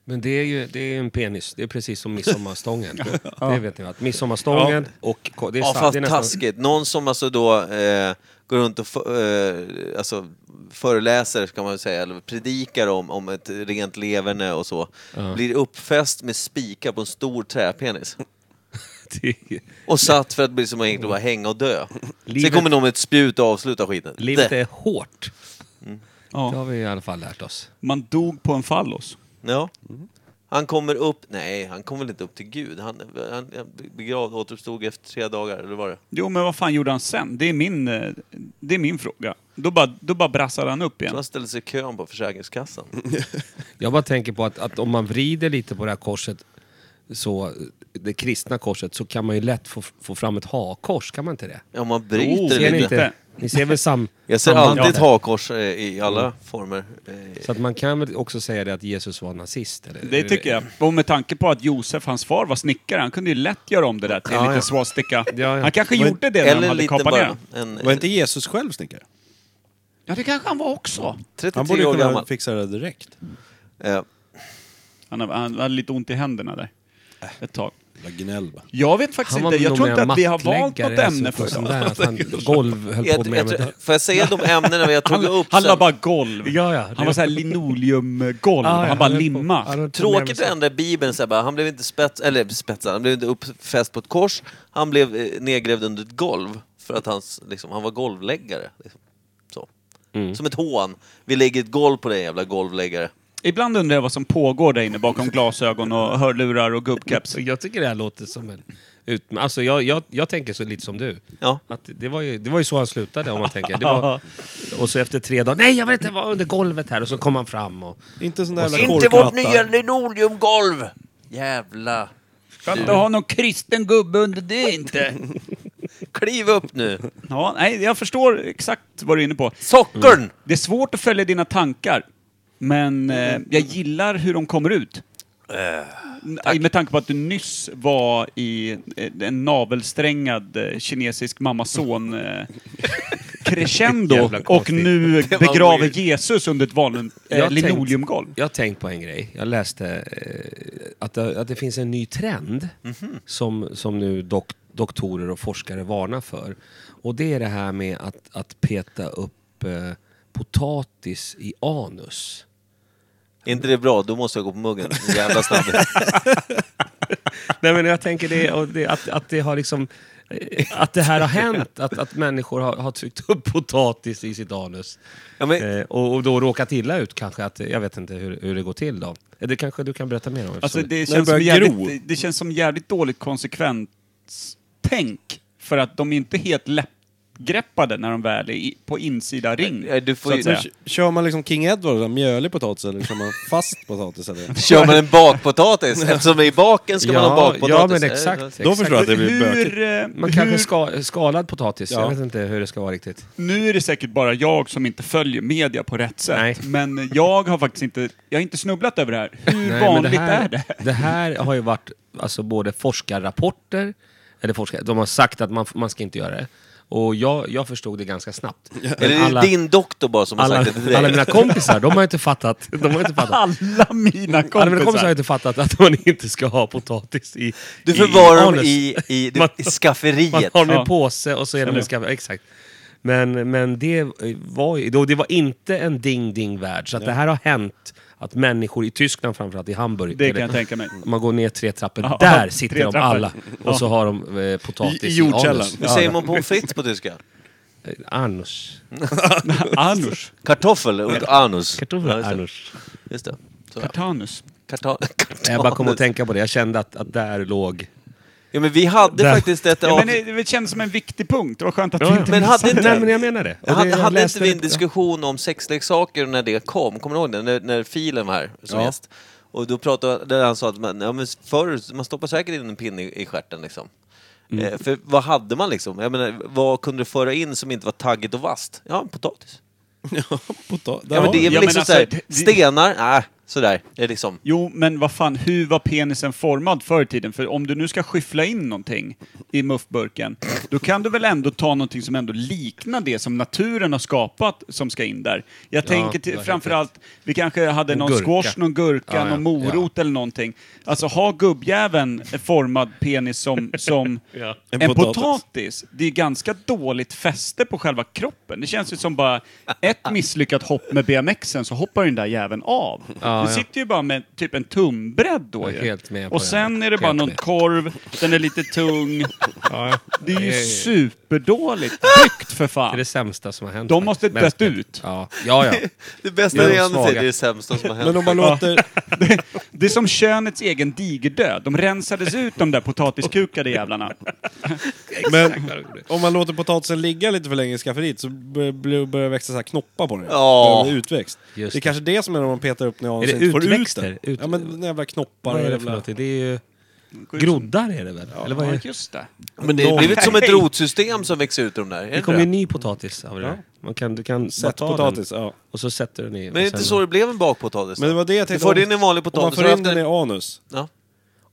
Men det är ju det är ju en penis. Det är precis som midsommarstången. Det vet ni va? Att Midsommarstången och... ko- Det är,
Ja,
sa- det
fast
är nästan-
taskigt. Någon som alltså då eh, går runt och f- eh, alltså, föreläser, ska man väl säga, eller predikar om, om ett rent leverne och så, blir uppfäst med spikar på en stor träpenis.
det-
Och satt för att bli som egentligen bara hänga och dö. Sen
Livet-
kommer någon med ett spjut och avslutar skiten.
Livet
Det.
är hårt.
Ja.
Det har vi i alla fall lärt oss.
Man dog på en fallos.
Ja. Han kommer upp, nej han kom väl inte upp till Gud. Han, han han begravd, återuppstod efter tre dagar, eller var det?
Jo, men vad fan gjorde han sen? Det är min, eh, det är min fråga. Då bara, då bara brassade han upp
Så
igen.
han ställde sig i kön på Försäkringskassan.
Jag bara tänker på att, att om man vrider lite på det här korset, så, det kristna korset, så kan man ju lätt få, få fram ett hakors, kan man inte det?
Ja, man
Oh,
bryter
ser
Ni,
lite.
inte, ni ser väl sam...
Jag ser
sambandet
alltid ett
där?
hakkors eh, i alla former. Eh,
Så att man kan väl också säga det att Jesus var nazist? Eller?
Det tycker jag. Och med tanke på att Josef, hans far, var snickare, han kunde ju lätt göra om det där till en
Ja,
liten
ja.
swastika.
Ja, ja.
Han kanske gjorde det när han
Eller
hade
lite
kapat
bara.
ner
En,
Var inte Jesus själv snickare?
Ja, det kanske han var också.
Han
33
borde
typ år
kunna
gammal.
fixa det direkt.
Eh,
Han, hade- han hade lite ont i händerna där. Ett tag.
Jävla gnäll bara.
Jag vet faktiskt
Äh. var
inte. Jag
nog
tror inte
mer
att vi har valt något
mattläggare,
ämne
alltså,
för
sånt
sånt.
där, att han Golv höll på
jag,
med.
jag,
med.
tror- får jag säga de ämnena vi jag tog
Han,
upp
han la
sen?
bara golv.
Ja, ja.
Han var såhär linoleumgolv.
Ja, ja,
han bara
höll på-
limma.
han höll på med
Tråkigt
sig.
att ändra Bibeln så här bara, han blev inte spets, eller spetsad, han blev inte uppfäst på ett kors. Han blev eh, nedgrävd under ett golv. För att hans, liksom, han var golvläggare. Liksom. Så.
Mm.
Som ett hån. Vi lägger ett golv på dig jävla golvläggare.
Ibland undrar jag vad som pågår där inne bakom glasögon och hörlurar och gubbkeps.
Så Jag tycker det här låter som en... Ut, alltså jag, jag, jag tänker så lite som du.
Ja.
Att det, var ju, det var ju så han slutade om man tänker. Det var, och så efter tre dagar, nej jag vet inte, jag var under golvet här. Och så kom han fram och...
Inte sån där jävla
Inte vårt nya
korkmatta.
linoleumgolv! Jävla...
Kan inte ha någon kristen gubbe under det inte.
Kliv upp nu!
Ja, nej, jag förstår exakt vad du är inne på.
Sockern!
Mm.
Det är svårt att följa dina tankar, men eh, jag gillar hur de kommer ut. Aj, Med tanke på att du nyss var i eh, en navelsträngad eh, kinesisk mamma-son eh, crescendo
Jävla
och
konstigt.
nu
var
begraver
weird.
Jesus under ett vanligt eh,
Jag
linoleumgolv.
Jag har tänkt på en grej. Jag läste eh, att, det, att det finns en ny trend som, som nu dok, doktorer och forskare varnar för. Och det är det här med att, att peta upp eh, potatis i anus.
Är inte det bra? Då måste jag gå på muggen. Jävla snabb.
Nej men jag tänker det, och det att, att det har liksom... eh, Att det här har hänt, att, att människor har, har tryckt upp potatis i sitt anus.
Ja, men,
Eh, och, och då råkat illa ut kanske. Att, jag vet inte hur, hur det går till då. Eh, Det kanske du kan berätta mer om?
Alltså
eftersom-
det känns,
börjar
som
gro.
jävligt, det känns som jävligt dåligt konsekvenstänk. För att de är inte helt läppgreppade när de väl är i- på insida ring.
Ja, du får
så att
ju-
säga.
Kör man liksom King Edward, där mjölig potatis, eller kör man fast potatis? Eller?
kör man en bakpotatis? Eftersom det är i baken ska man ha bakpotatis.
Ja, men
Eh,
exakt.
Då förstår jag att det blir bökigt.
Hur, eh,
Man kanske
hur,
ska, skalad potatis.
Ja.
Jag vet inte hur det ska vara riktigt.
nu är det säkert bara jag som inte följer media på rätt sätt.
Nej.
Men jag har faktiskt inte, jag har inte snubblat över det här. Hur
Nej, men
vanligt
här,
är det?
Det här har ju varit alltså, både forskarrapporter, eller forskare, de har sagt att man, man ska inte göra det. Och jag, jag förstod det ganska snabbt.
Eller är
Men
det
alla,
din doktor bara som har
alla,
sagt det till dig?
alla mina kompisar, de har inte fattat. De har inte fattat.
Alla mina
Alla mina kompisar har
kompisar.
inte fattat att man inte ska ha potatis i
Du
i
förvarar dem
anus.
i, i, du,
Man-
i skafferiet.
Man har dem i
Ja.
en påse och så är de i skafferiet. Exakt. Men, men det var ju, då- det var inte en ding-ding-värld. Så att det här har hänt att människor i Tyskland, framförallt i Hamburg,
Det
eller-
kan jag tänka mig.
man går ner tre trappor,
Ja,
där
tre
sitter de
trappor.
alla.
Ja.
Och så har de eh, potatis
I- i jordkällan.
anus.
Hur säger man pommes frites på tyska?
Eh, Anus.
Anus.
Kartoffel och anus.
Kartoffel,
Ja, just det.
anus.
Just det. Så, ja.
Kartanus.
Karta-
Jag bara kom
kartanus.
att tänka på det, jag kände att, att där låg...
Ja, men vi hade
Där.
faktiskt ett
Ja, men
avsnitt.
det, det känns som en viktig punkt. Det var skönt att du
Ja, ja.
inte
Men hade inte...
Nej men jag menar det. Och det-
hade,
jag
hade
läste
inte vi en
det på-
diskussion om sexleksaker när det kom? Kommer du ihåg det? När, när filen var här som gäst. Och då pratade där han sa att man, ja, men förr, man stoppar säkert in en pinne i, i stjärten liksom.
Mm.
Eh, för vad hade man liksom? Jag menar, vad kunde du föra in som inte var taggigt och vasst? Ja, en potatis.
Pota- där
Ja, men
har
det
vi
är väl
Ja, men
liksom
alltså,
såhär,
det- det-
stenar, nej, sådär. Det är liksom.
Jo, men vad fan, hur var penisen formad förr i tiden? För om du nu ska skyffla in någonting i muffburken, då kan du väl ändå ta någonting som ändå liknar det som naturen har skapat som ska in där. Jag tänker
du
till,
har
framförallt, vi kanske hade
Och
någon
gurka.
squash, någon gurka,
Ja, ja,
någon morot eller någonting. Alltså, ha gubbjäveln formad penis som, som en,
En
potatis.
potatis.
Det är ganska dåligt fäste på själva kroppen. Det känns ju som bara ett misslyckat hopp med BMXen så hoppar den där jäveln av.
Ja,
du
ja.
sitter ju bara med typ en tumbredd då
Jag är
ju.
helt med på
Och
det.
sen är det bara
Helt
någon
med.
korv, den är lite tung. Det är ju
Nej.
super superdåligt byggt för fan.
Det är det sämsta som har hänt.
De måste
faktiskt.
dött ut.
Ja, ja. ja.
Det bästa
Men de
är Janne säger,
svaga.
det är det sämsta som har hänt.
Men om man låter...
Det är som könets egen digerdöd. De rensades ut de där potatiskukade jävlarna.
men, om man låter potatisen ligga lite för länge i skafferiet så bör- blir- börjar det växa så här knoppar på den.
Ja.
Det är Utväxt. Det är
Just det.
kanske det som är när man petar upp när
Är det
inte får ut
utväxter?
den.
Ut-
Ja men jävla knoppar
Vad
och
är det för
jävla...
någonting? Det är ju... Groddar är det väl? Eller vad är
liksom- Ja,
det?
just det.
Men det har blivit som ett rotsystem som växer ut ur de där. Är
Det
det
kommer ju
inte det?
ny potatis av det där. Man kan, du kan
Sätt
bara ta
potatis,
den,
ja.
Och så sätter du den i.
Men är det
och
inte
sen-
så det blev en bakpotatis?
Men det var det jag
Du
tänkte.
får
om-
in en vanlig
Om man
potatis
får
och
in
efter...
den i anus.
Ja.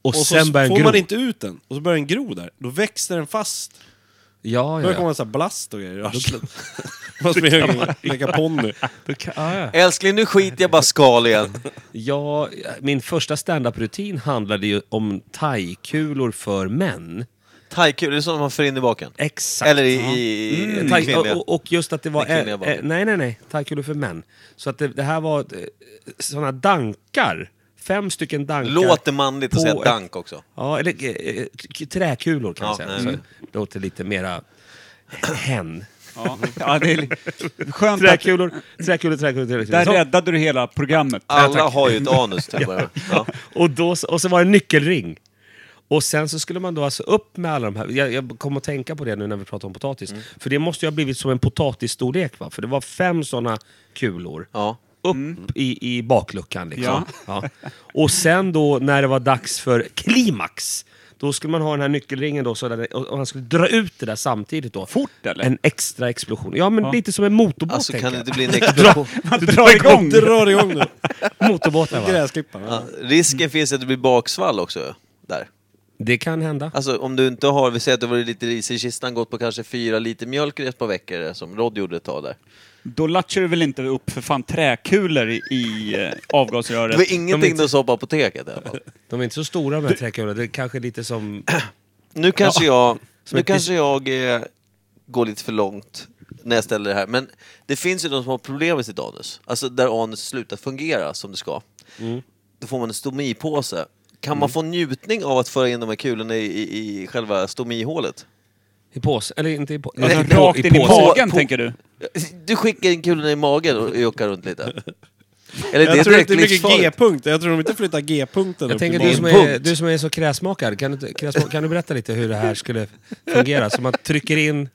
Och
Och
sen
så
börjar
får
gro...
man inte ut den. Och så börjar den gro där. Då växer den fast.
Ja,
Då
ja,
börjar
ja.
komma så här blast och grejer i arslet. Man springer omkring och leker ponny.
Då kan- ja, ja.
Älskling, nu skiter jag bara skal igen.
Ja, min första standup-rutin handlade ju om thaikulor för män.
Thaikul, det är sånt man för in i baken.
Exakt.
Eller i, i,
Mm,
i
Thai-
kvinnliga.
och, och just att det var...
Den kvinnliga
eh,
baken.
eh, nej, nej, nej. Thaikulor för män. Så att det, det här var sådana dankar. Fem stycken dankar.
Låter manligt att
På
säga
ett-
dank också.
Ja, eller eh, eh, k- träkulor kan
Ja,
jag säga.
nej,
Så
men-
det låter lite mera hen.
Ja. Ja, det är li- skönt att...
Träkulor, träkulor, träkulor, träkulor.
Där
Så,
räddade du hela programmet.
Alla har ju ett anus till att börja med. ja.
och, då, och så var det en nyckelring. Och sen så skulle man då alltså upp med alla de här. Jag, jag kom att tänka på det nu när vi pratade om potatis.
Mm.
För det måste ju ha blivit som en potatisstorlek va? För det var fem sådana kulor.
Ja.
Upp
Mm.
i, i bakluckan liksom. Ja. Och sen då när det var dags för klimax. Då skulle man ha den här nyckelringen då, så där, och och man skulle dra ut det där samtidigt då.
Fort eller?
En extra explosion. Ja men lite som en motorbåt
Alltså
tänker
kan det
jag.
inte bli en explosion?
Man drar igång!
Drar igång nu.
Motorbåtar va?
Gräsklipparen.
Ja, risken finns att det blir baksvall också. Där.
Det kan hända.
Alltså om du inte har, vi säger att det var lite ris i kistan, gått på kanske fyra liter mjölk i ett par veckor som Rod gjorde ett tag där.
Då latchar du väl inte upp för fan träkulor i- i eh,
Det
avgasröret?
var ingenting de sa på apoteket i alla fall.
De är inte så stora de här träkulorna. Det är kanske lite som...
Nu kanske jag,
Som
nu
ett
kanske jag eh, går lite för långt när jag ställer det här, men det finns ju de som har problem med sitt anus. Alltså där anus slutar fungera som det ska.
Mm.
Då får man en stomipåse. Kan man få njutning av att föra in de här kulorna i, i, i själva stomihålet?
I påse. Eller inte i påse.
Nej,
i på-
Alltså, Rakt in i
påse.
magen,
På-
tänker du?
Du skickar in kulorna i magen och åkar runt lite. Eller det
Jag
är
tror inte
direkt
det är mycket
livsfarligt.
G-punkter. Jag tror de inte flyttar G-punkten
Jag
upp
tänker
i
du som,
magen.
är, du som är så kräsmakad, kan du, inte- kräsmak, kan du berätta lite hur det här skulle fungera? Så man trycker in...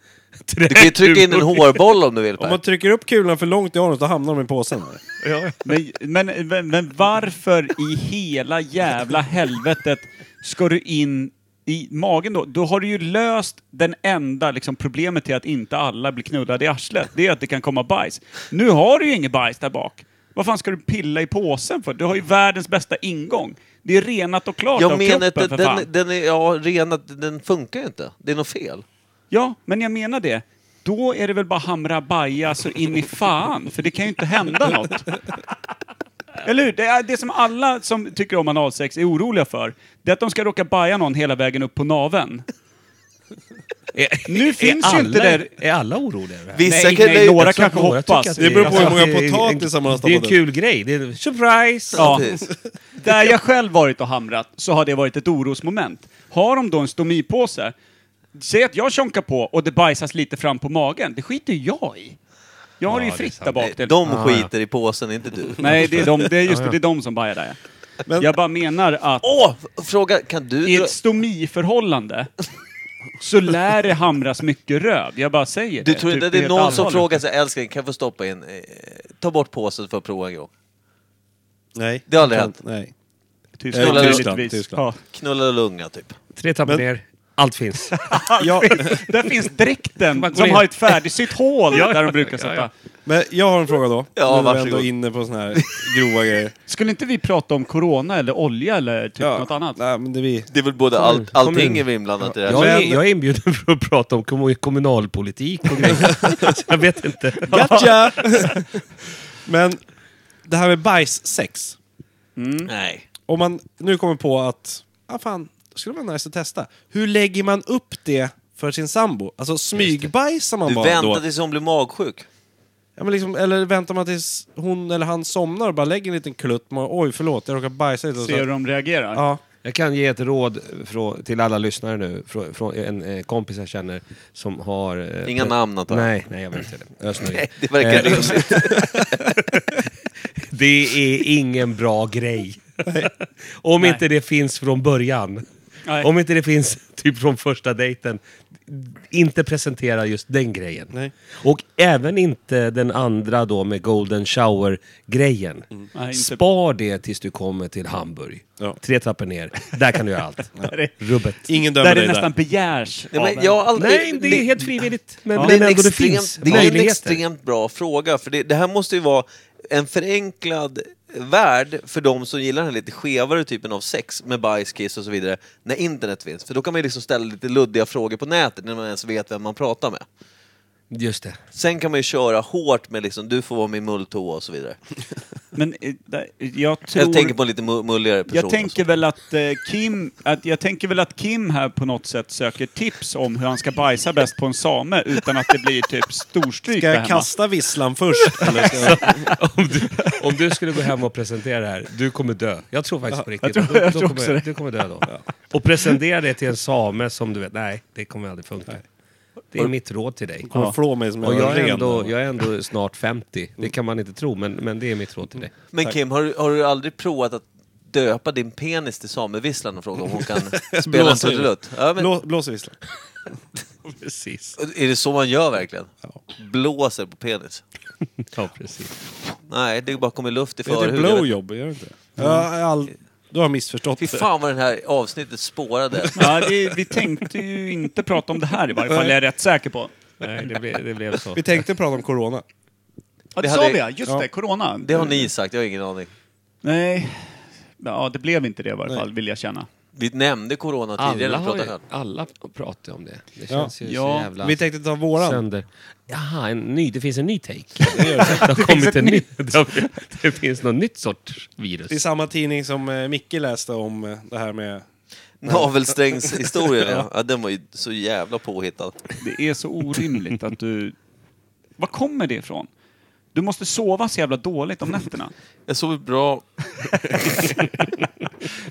Du kan ju trycka in en hårboll om du vill
Om
Per.
man trycker upp kulan för långt i anus, då hamnar de i påsen. Där.
Men, men, men, men varför i hela jävla helvetet ska du in i magen då? Då har du ju löst den enda liksom, problemet till att inte alla blir knullade i arslet. Det är att det kan komma bajs. Nu har du ju inget bajs där bak. Vad fan ska du pilla i påsen för? Du har ju världens bästa ingång. Det är renat och klart av
Jag menar
kroppen
att
för
den,
fan.
den är, ja, renat, den funkar ju inte. Det är något fel.
Ja, men jag menar det. Då är det väl bara hamra baja så in i fan, för det kan ju inte hända något. Eller hur? Det, är det som alla som tycker om analsex är oroliga för, det är att de ska råka baja någon hela vägen upp på naven. Nu finns ju
alla,
inte där...
Är alla oroliga över det här?
Vissa
Nej,
kan
nej,
det-
några
jag tror
kanske
Några tycker
hoppas.
att
Det beror på hur
alltså,
många
det är en-
potatis man har
Det är en
stoppat upp.
kul grej. Det är, surprise!
Ja. Där jag själv varit och hamrat så har det varit ett orosmoment. Har de då en stomipåse, säg att jag tjonkar på och det bajsas lite fram på magen, det skiter ju jag i. Jag har det ju
det är
fritt
sant.
där bak. till- Ah,
De skiter i påsen, inte du.
Nej, det är, de, det är just det, det är de som bajar där. ja. Jag bara menar att
Åh! Fråga, kan du...
i
dra-
ett stomiförhållande så lär det hamras mycket röv. Jag bara säger
Du
det.
tror inte
typ
det är
helt
någon som
allvarligt.
frågar sig, älskling, kan jag få stoppa in... Eh, ta bort påsen för att prova en gång.
Nej.
Det har aldrig hänt.
Nej.
Tyskland,
Eh,
Tyskland,
möjligtvis.
Tyskland.
Knulla lunga, typ.
Tre tappar ner. Allt finns.
Ja,
Ja. Där finns dräkten
Man går
som
in.
har ett färdigsytt hål där de brukar sätta.
men jag har en fråga då.
Ja,
nu när vi ändå
varsågod.
är inne på såna här grova grejer.
Typ
Skulle inte vi prata om corona eller olja eller typ
Ja.
något annat?
Nej, men det är vi.
Det är väl både
in,
allt,
kom
allting
in.
är inblandat i det här.
Jag är,
Men-
jag är inbjuden för att prata om kommu- kommunalpolitik och grejer. Så jag vet inte.
Gotcha! men det här med bajssex.
Nej.
Om man nu kommer på att, ah fan, det skulle vara nice att testa. Hur lägger man upp det för sin sambo? Alltså smygbajsar man
Du
bara då?
väntar tills hon blir magsjuk.
Ja, men liksom, eller väntar man tills hon eller han somnar och bara lägger en liten klutt? Man, Oj, förlåt, jag råkade bajsa lite. och så-
Se hur de reagerar.
Ja.
Jag kan ge ett råd frå, till alla lyssnare nu, från, från en eh, kompis jag känner som har... eh,
Inga
pe-
namn, antar jag.
Nej, nej jag vet inte det. Ös nu in.
Nej, det verkar
Eh,
rimligt.
Det är ingen bra grej. Om
Nej.
inte det finns från början.
Nej.
Om inte det finns typ från första dejten. Inte presentera just den grejen. Och även inte den andra då med golden shower-grejen.
Mm. Nej, inte-
Spar det tills du kommer till Hamburg.
Ja.
Tre trappor ner. Där kan du göra allt. Rubbet.
Ingen
Där
dömer
det
dig
nästan
där.
begärs
Nej,
av
men
en.
jag har aldrig-
Nej, det är helt frivilligt. Men,
Ja.
men
det är en
ändå det
extremt-
finns
det är en
möjligheter.
extremt bra fråga, för det, det här måste ju vara en förenklad värld för de som gillar den här lite skevare typen av sex med bajs, kiss och så vidare, när internet finns. För då kan man ju liksom ställa lite luddiga frågor på nätet när man ens vet vem man pratar med.
Just det.
Sen kan man ju köra hårt med liksom, du får vara min mulltoa och så vidare.
Men eh, där- jag tror...
Jag tänker på en lite mu- mulligare person.
Jag tänker, väl att, eh, Kim, att, jag tänker väl att Kim här på något sätt söker tips om hur han ska bajsa bäst på en same utan att det blir typ storstryk
Ska
där
jag
hemma.
kasta visslan först? Eller ska jag...
Om du, om du skulle gå hem och presentera det här, du kommer dö. Jag tror faktiskt på riktigt
tror-
Du-
jag
du
tror också
kommer, Du kommer dö då. Och presentera det till en same som du vet, nej, det kommer aldrig funka. Det är mitt råd till dig.
Kommer flå mig som
Och jag är,
ren.
ändå, jag är ändå snart 50. Det kan man inte tro, men, men det är mitt råd till dig.
Men Kim, har, du- har du aldrig provat att döpa din penis till samevisslan och fråga om hon kan spela en
Blåsa i den.
trudelutt? Ja, men,
Blå, blås i visslan.
Precis.
är det så man gör verkligen? Blåser på penis?
Ja, precis.
Nej, det bara kommer luft i
Heter det
förhuden. Jag vet-
blowjob? typ Gör det inte? Jag har all... Du har missförstått
Fy
det.
fan vad det här avsnittet spårade.
Ja, det, vi tänkte ju inte prata om det här i varje fall, jag är rätt säker på.
Nej, det blev, det blev så.
Vi tänkte prata om corona.
Ja,
Det
det sa
hade-
vi ja, just
ja.
det, corona.
Det har ni sagt, jag har ingen aning.
Nej, ja det blev inte det i varje fall, vill jag känna.
Vi nämnde corona tidigare
Alla,
när
har
vi pratade
ju,
själv.
alla pratar ju om det. Det känns ju
Ja.
så jävla...
Vi tänkte ta våran.
Sönder. Jaha, en ny, det finns en ny take. Det har kommit en ny. Det, har, det finns någon nytt sorts virus.
Det är samma tidning som eh, Micke läste om eh, det här med...
Navelsträngshistorien, ja. ja. Den var ju så jävla påhittad.
Det är så orimligt att du... Var kommer det ifrån? Du måste sova så jävla dåligt om nätterna.
Jag sov bra.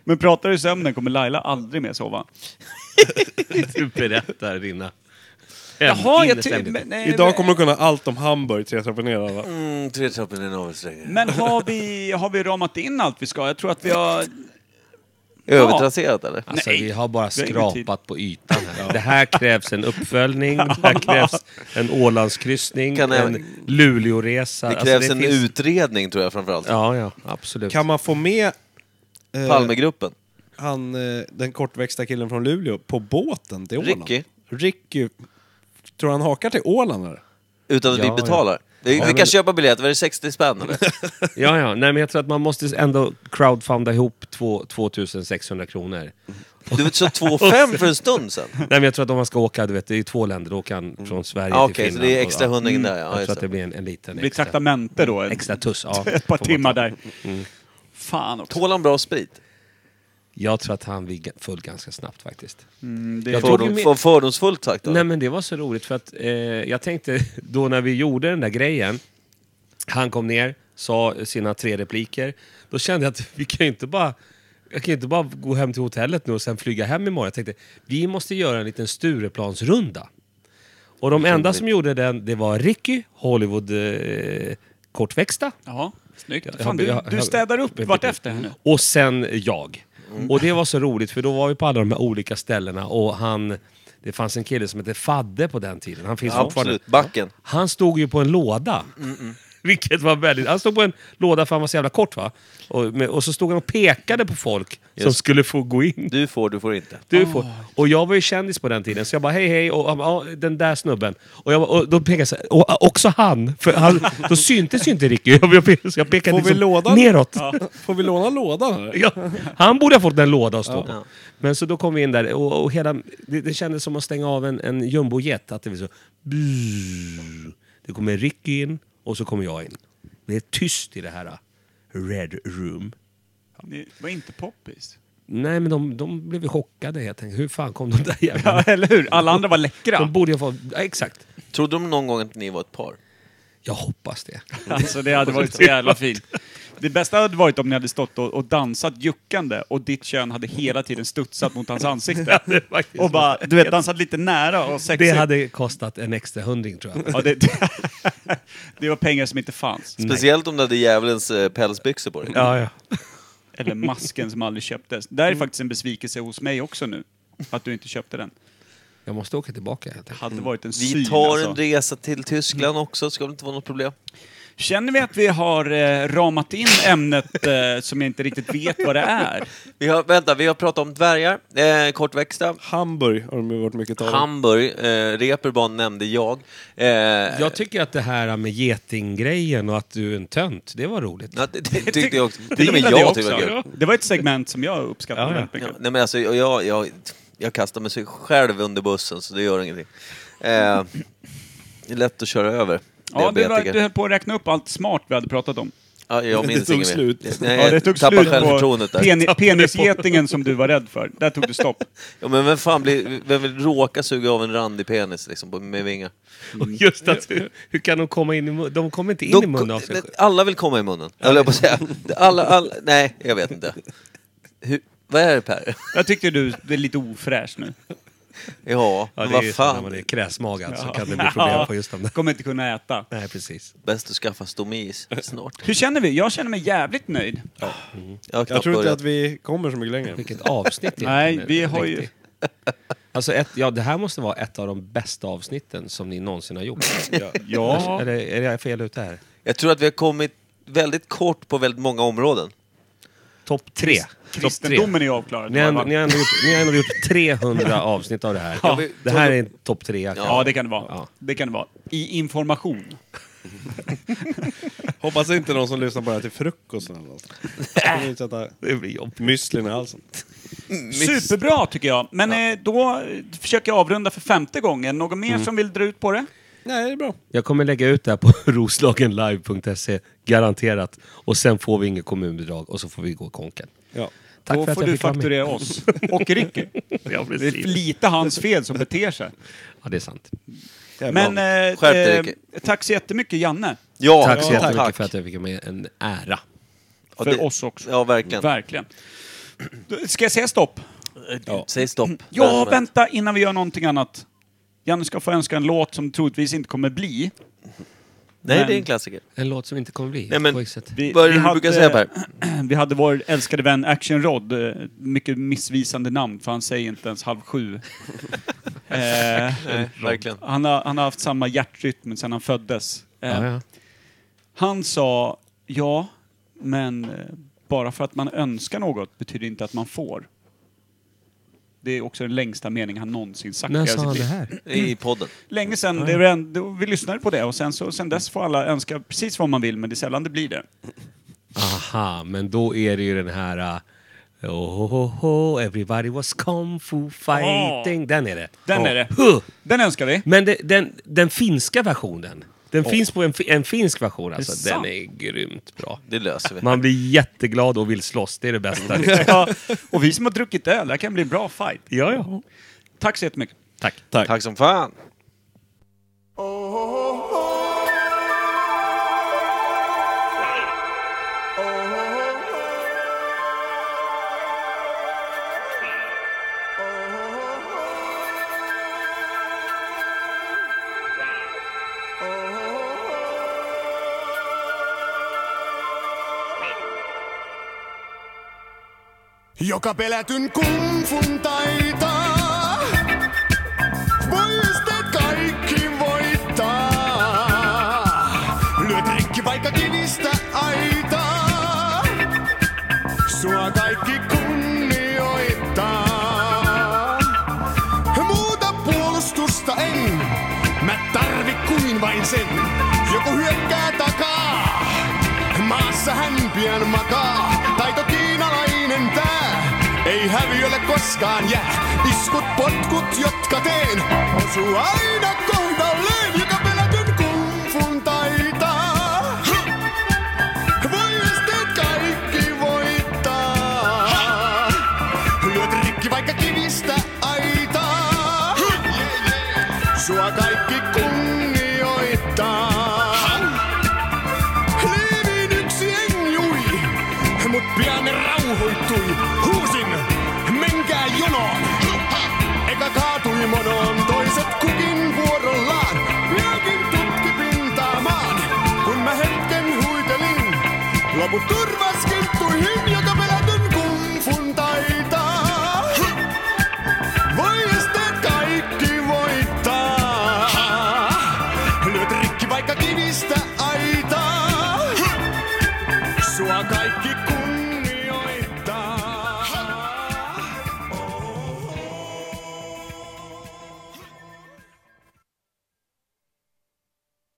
Men pratar du i sömnen kommer Laila aldrig mer sova.
du berättar dina...
Jaha, jag ty-
innerstämning.
men, nej,
Idag kommer du kunna allt om Hamburg, tre trappor ner. alla.
Mm, tre trappor i navelsträngen.
Men har vi, har vi ramat in allt vi ska? Jag tror att vi har...
Övertrasserat eller?
Alltså,
Nej.
vi har bara
Vi har ingen
skrapat på ytan här. Det här krävs en uppföljning, det här krävs en Ålandskryssning,
Kan jag-
en Luleåresa.
Det
Alltså,
krävs en
finns-
utredning tror jag framförallt.
Ja, ja, absolut.
Kan man få med eh,
Palmegruppen.
han, eh, den kortväxta killen från Luleå på båten till Åland?
Ricky.
Ricky. Tror han hakar till Åland? Eller?
Utan att
Ja,
vi betalar. Vi, vi kan
men-
köpa biljett, var det 60 spänn eller?
Ja, ja. Nej, men jag tror att man måste ändå crowdfunda ihop två- 2600 kronor.
Du vet, så 2,5 för en stund sedan.
Nej, men jag tror att om man ska åka, du vet, det är ju två länder, då åker han från Sverige
Ah, Okej,
till Finland.
så det är
och-
extra
ja.
hundringen där ja.
Jag
just
tror att det
det.
blir en, en liten
Blir
extra,
traktamente då. En,
extra tuss. Ja,
ett par
får man
timmar
ta. Mm.
där. Fan också.
Tål han bra sprit?
Jag tror att han blir g- full ganska snabbt faktiskt.
Mm, det
Jag tog ju
Fördom,
med-
för- fördomsfullt sagt då?
Nej men det var så roligt för att eh, jag tänkte då när vi gjorde den där grejen. Han kom ner, sa sina tre repliker. Då kände jag att vi kan ju inte bara jag kan ju inte bara gå hem till hotellet nu och sen flyga hem imorgon. Jag tänkte, vi måste göra en liten Stureplansrunda. Och de enda som gjorde den, det var Ricky, Hollywood eh, kortväxta.
Jaha, snyggt.
Jag-
Fan, du,
jag-
du
jag-
städar upp
jag-
vartefter här nu. Mm.
Och sen jag. Och det var så roligt för då var vi på alla de här olika ställena och han... Det fanns en kille som hette Fadde på den tiden, han finns
Ja,
fortfarande.
absolut. Backen.
Han stod ju på en låda. Vilket var väldigt... Han stod på en låda för han var så jävla kort va? Och, med, och så stod han och pekade på folk som
Just.
skulle få gå in.
Du får, du får inte.
Ah.
Du får. Och jag var ju kändis på den tiden, så jag bara hej hej, och han bara, "Ja, den där snubben. Och, jag, bara- och då pekade jag så här, och, och också han, för han, då syntes ju inte Ricky. Jag, jag, pe- så jag pekade
Får vi
liksom
lådan?
neråt.
Får vi låna lådan? Eller?
Ja, han borde ha fått en låda att stå på. Men så då kom vi in där och, och hela, det, det kändes som att stänga av en, en jumbojet. Att det var så... bzzz. Det kommer Ricky in och så kommer jag in. Det är tyst i det här uh, Red Room.
Det var inte poppis.
Nej, men de, de blev ju chockade helt enkelt. Hur fan kom de där
Ja,
jävlarna?
eller hur? Alla andra var läckra.
De borde ju ha fått... Ja, exakt.
Trodde de någon gång att ni var ett par?
Jag hoppas det.
Alltså det hade varit så jävla fint. Det bästa hade varit om ni hade stått och, och dansat juckande och ditt kön hade hela tiden studsat mot hans ansikte. och bara, du vet, dansat lite nära och
Det
sexigt.
hade kostat en extra hundring tror jag.
Ja, det, det, var pengar som inte fanns.
Speciellt om du hade djävulens eh, pälsbyxor på dig.
Ja, ja.
Eller masken som aldrig köptes. Det här är
Mm.
faktiskt en besvikelse hos mig också nu. Att du inte köpte den.
Jag måste åka tillbaka helt enkelt.
Hade varit en
Mm. Vi
syn
tar en
alltså.
resa till Tyskland också, ska det inte vara något problem.
Känner vi att vi har eh, ramat in ämnet eh, som jag inte riktigt vet vad det är?
Vi har, vänta, vi har pratat om dvärgar, eh, kortväxta.
Hamburg har de ju varit mycket tal om.
Hamburg, eh, Reeperbahn nämnde jag. Eh,
Jag tycker att det här med getinggrejen och att du är en tönt, det var roligt.
ja, det, det tyckte jag också.
Det
Till och med
gillade
jag tyckte det var kul.
också. Det var ett segment som jag uppskattade väldigt mycket.
Ja, nej men alltså, jag, jag, jag kastar mig sig själv under bussen så det gör ingenting. Eh, det är lätt att köra över
Ja, du, var,
diabetiker.
du höll på att räkna upp allt smart vi hade pratat om.
Ja, jag minns
tog
inget mer.
slut.
Nej,
Ja, det
jag
tog
tappar
slut på
självförtroendet där.
peni- penisgetingen som du var rädd för. Där tog det stopp.
Ja, men vem fan blir, vem vill råka suga av en randig penis liksom, på- med vingar?
Och
Mm.
just att hur, hur kan de komma in i munnen? De kommer inte in i
De-
munnen av sig själva.
alla vill komma i munnen, höll jag på att säga. Alla, alla, nej, jag vet inte. Hur, vad är det Per?
Jag tyckte du det är lite ofräsch nu.
Ja,
Ja, det är
vad
ju så när man
fan.
är kräsmagad så kan det bli problem på just de där.
Kommer inte kunna äta.
Nej, precis.
Bäst att skaffa stomis snart.
Hur känner vi? Jag känner mig jävligt nöjd.
Jag har knappt
Jag tror inte
börjat.
att vi kommer så mycket längre.
Vilket avsnitt egentligen.
Nej, vi har ju...
Riktigt. Alltså ett, ja, det här måste vara ett av de bästa avsnitten som ni någonsin har gjort.
Ja.
Eller är jag fel ute här?
Jag tror att vi har kommit väldigt kort på väldigt många områden.
Topp tre. Topp tre.
Kristendomen är avklarad.
Ni har, ändå- ni, har ändå gjort, ni har ändå gjort 300 avsnitt av det här.
Ja.
Det här är en topp tre.
Ja.
Ja, det kan det vara. Det kan det vara. I information.
Mm,
Hoppas inte någon som lyssnar bara till frukosten eller något. Kommer inte sätta
Det blir jobb.
müslin i halsen.
Superbra tycker jag. Men eh, då eh, försöker jag avrunda för femte gången. Någon mer
Mm.
som vill dra ut på det?
Nej, det är bra.
Jag kommer lägga ut det här på roslagenlive.se, garanterat. Och sen får vi inget kommunbidrag och så får vi gå konken.
Ja.
Tack
då
för att
får
jag
du
fick vara med.
fakturera oss. Och Ricky. Det är lite hans fel som beter sig.
Ja, det är sant.
Men eh,
Skärp dig,
eh,
Ricky.
tack så jättemycket Janne.
Ja,
tack så
ja,
jättemycket
tack.
för att jag fick vara med. En ära.
Ja,
För
det-
oss också.
Ja, verkligen.
Verkligen. Då- Ska jag säga stopp?
Eh,
Säg stopp.
Ja, vänta innan vi gör någonting annat. Janne ska få önska en låt som troligtvis inte kommer bli.
Nej, det är en klassiker.
En låt som inte kommer bli.
Nej, men-
på vilket sätt.
Vi,
Vad är
vi
det du brukar säga Per?
Vi hade vår älskade vän Action Rod, eh, mycket missvisande namn för han säger inte ens halv sju. eh,
Nej, verkligen.
han, har, han har haft samma hjärtrytm sedan han föddes. Eh,
Ja, ja.
Han sa, ja, men eh, bara för att man önskar något betyder inte att man får. Det är också den längsta mening han någonsin sagt i
När
hela
sa
sitt
han
liv.
det här?
I podden.
Länge sedan, det var en, då, vi lyssnade på det och sen, så, sen dess får alla önska precis vad man vill men det är sällan det blir det.
Aha, men då är det ju den här... Uh, oh, oh, oh, oh, everybody was kung fu fighting. Den är det.
Den
Ja.
är det.
Huh!
Den önskar vi.
Men det, den, den finska versionen. Den finns på en, fi- en finsk version alltså.
Det är
den
sant.
är grymt bra.
Det löser vi.
Man blir jätteglad och vill slåss. Det är det bästa.
ja, och vi som har druckit öl, det här kan bli en bra fight.
ja, ja.
Tack så jättemycket.
Tack.
Tack som fan.
Joka pelätyn kumfun taitaa, voistat kaikki voittaa. Lyöt rikki vaikka kivistä aitaa, sua kaikki kunnioittaa. Muuta puolustusta en, mä tarvi kuin vain sen. Joku hyökkää takaa, maassa hän pian makaa. Taito kiinalainen tää, ei häviölle koskaan jää. Iskut, potkut, jotka teen, osuu aina kohdalleen. Joka pelätyn kumfun taitaa, voi esteet kaikki voittaa. Lyöt rikki vaikka kivistä aitaa. Sua kaikki kunnioittaa. Liivin yksi en jui. mutta turha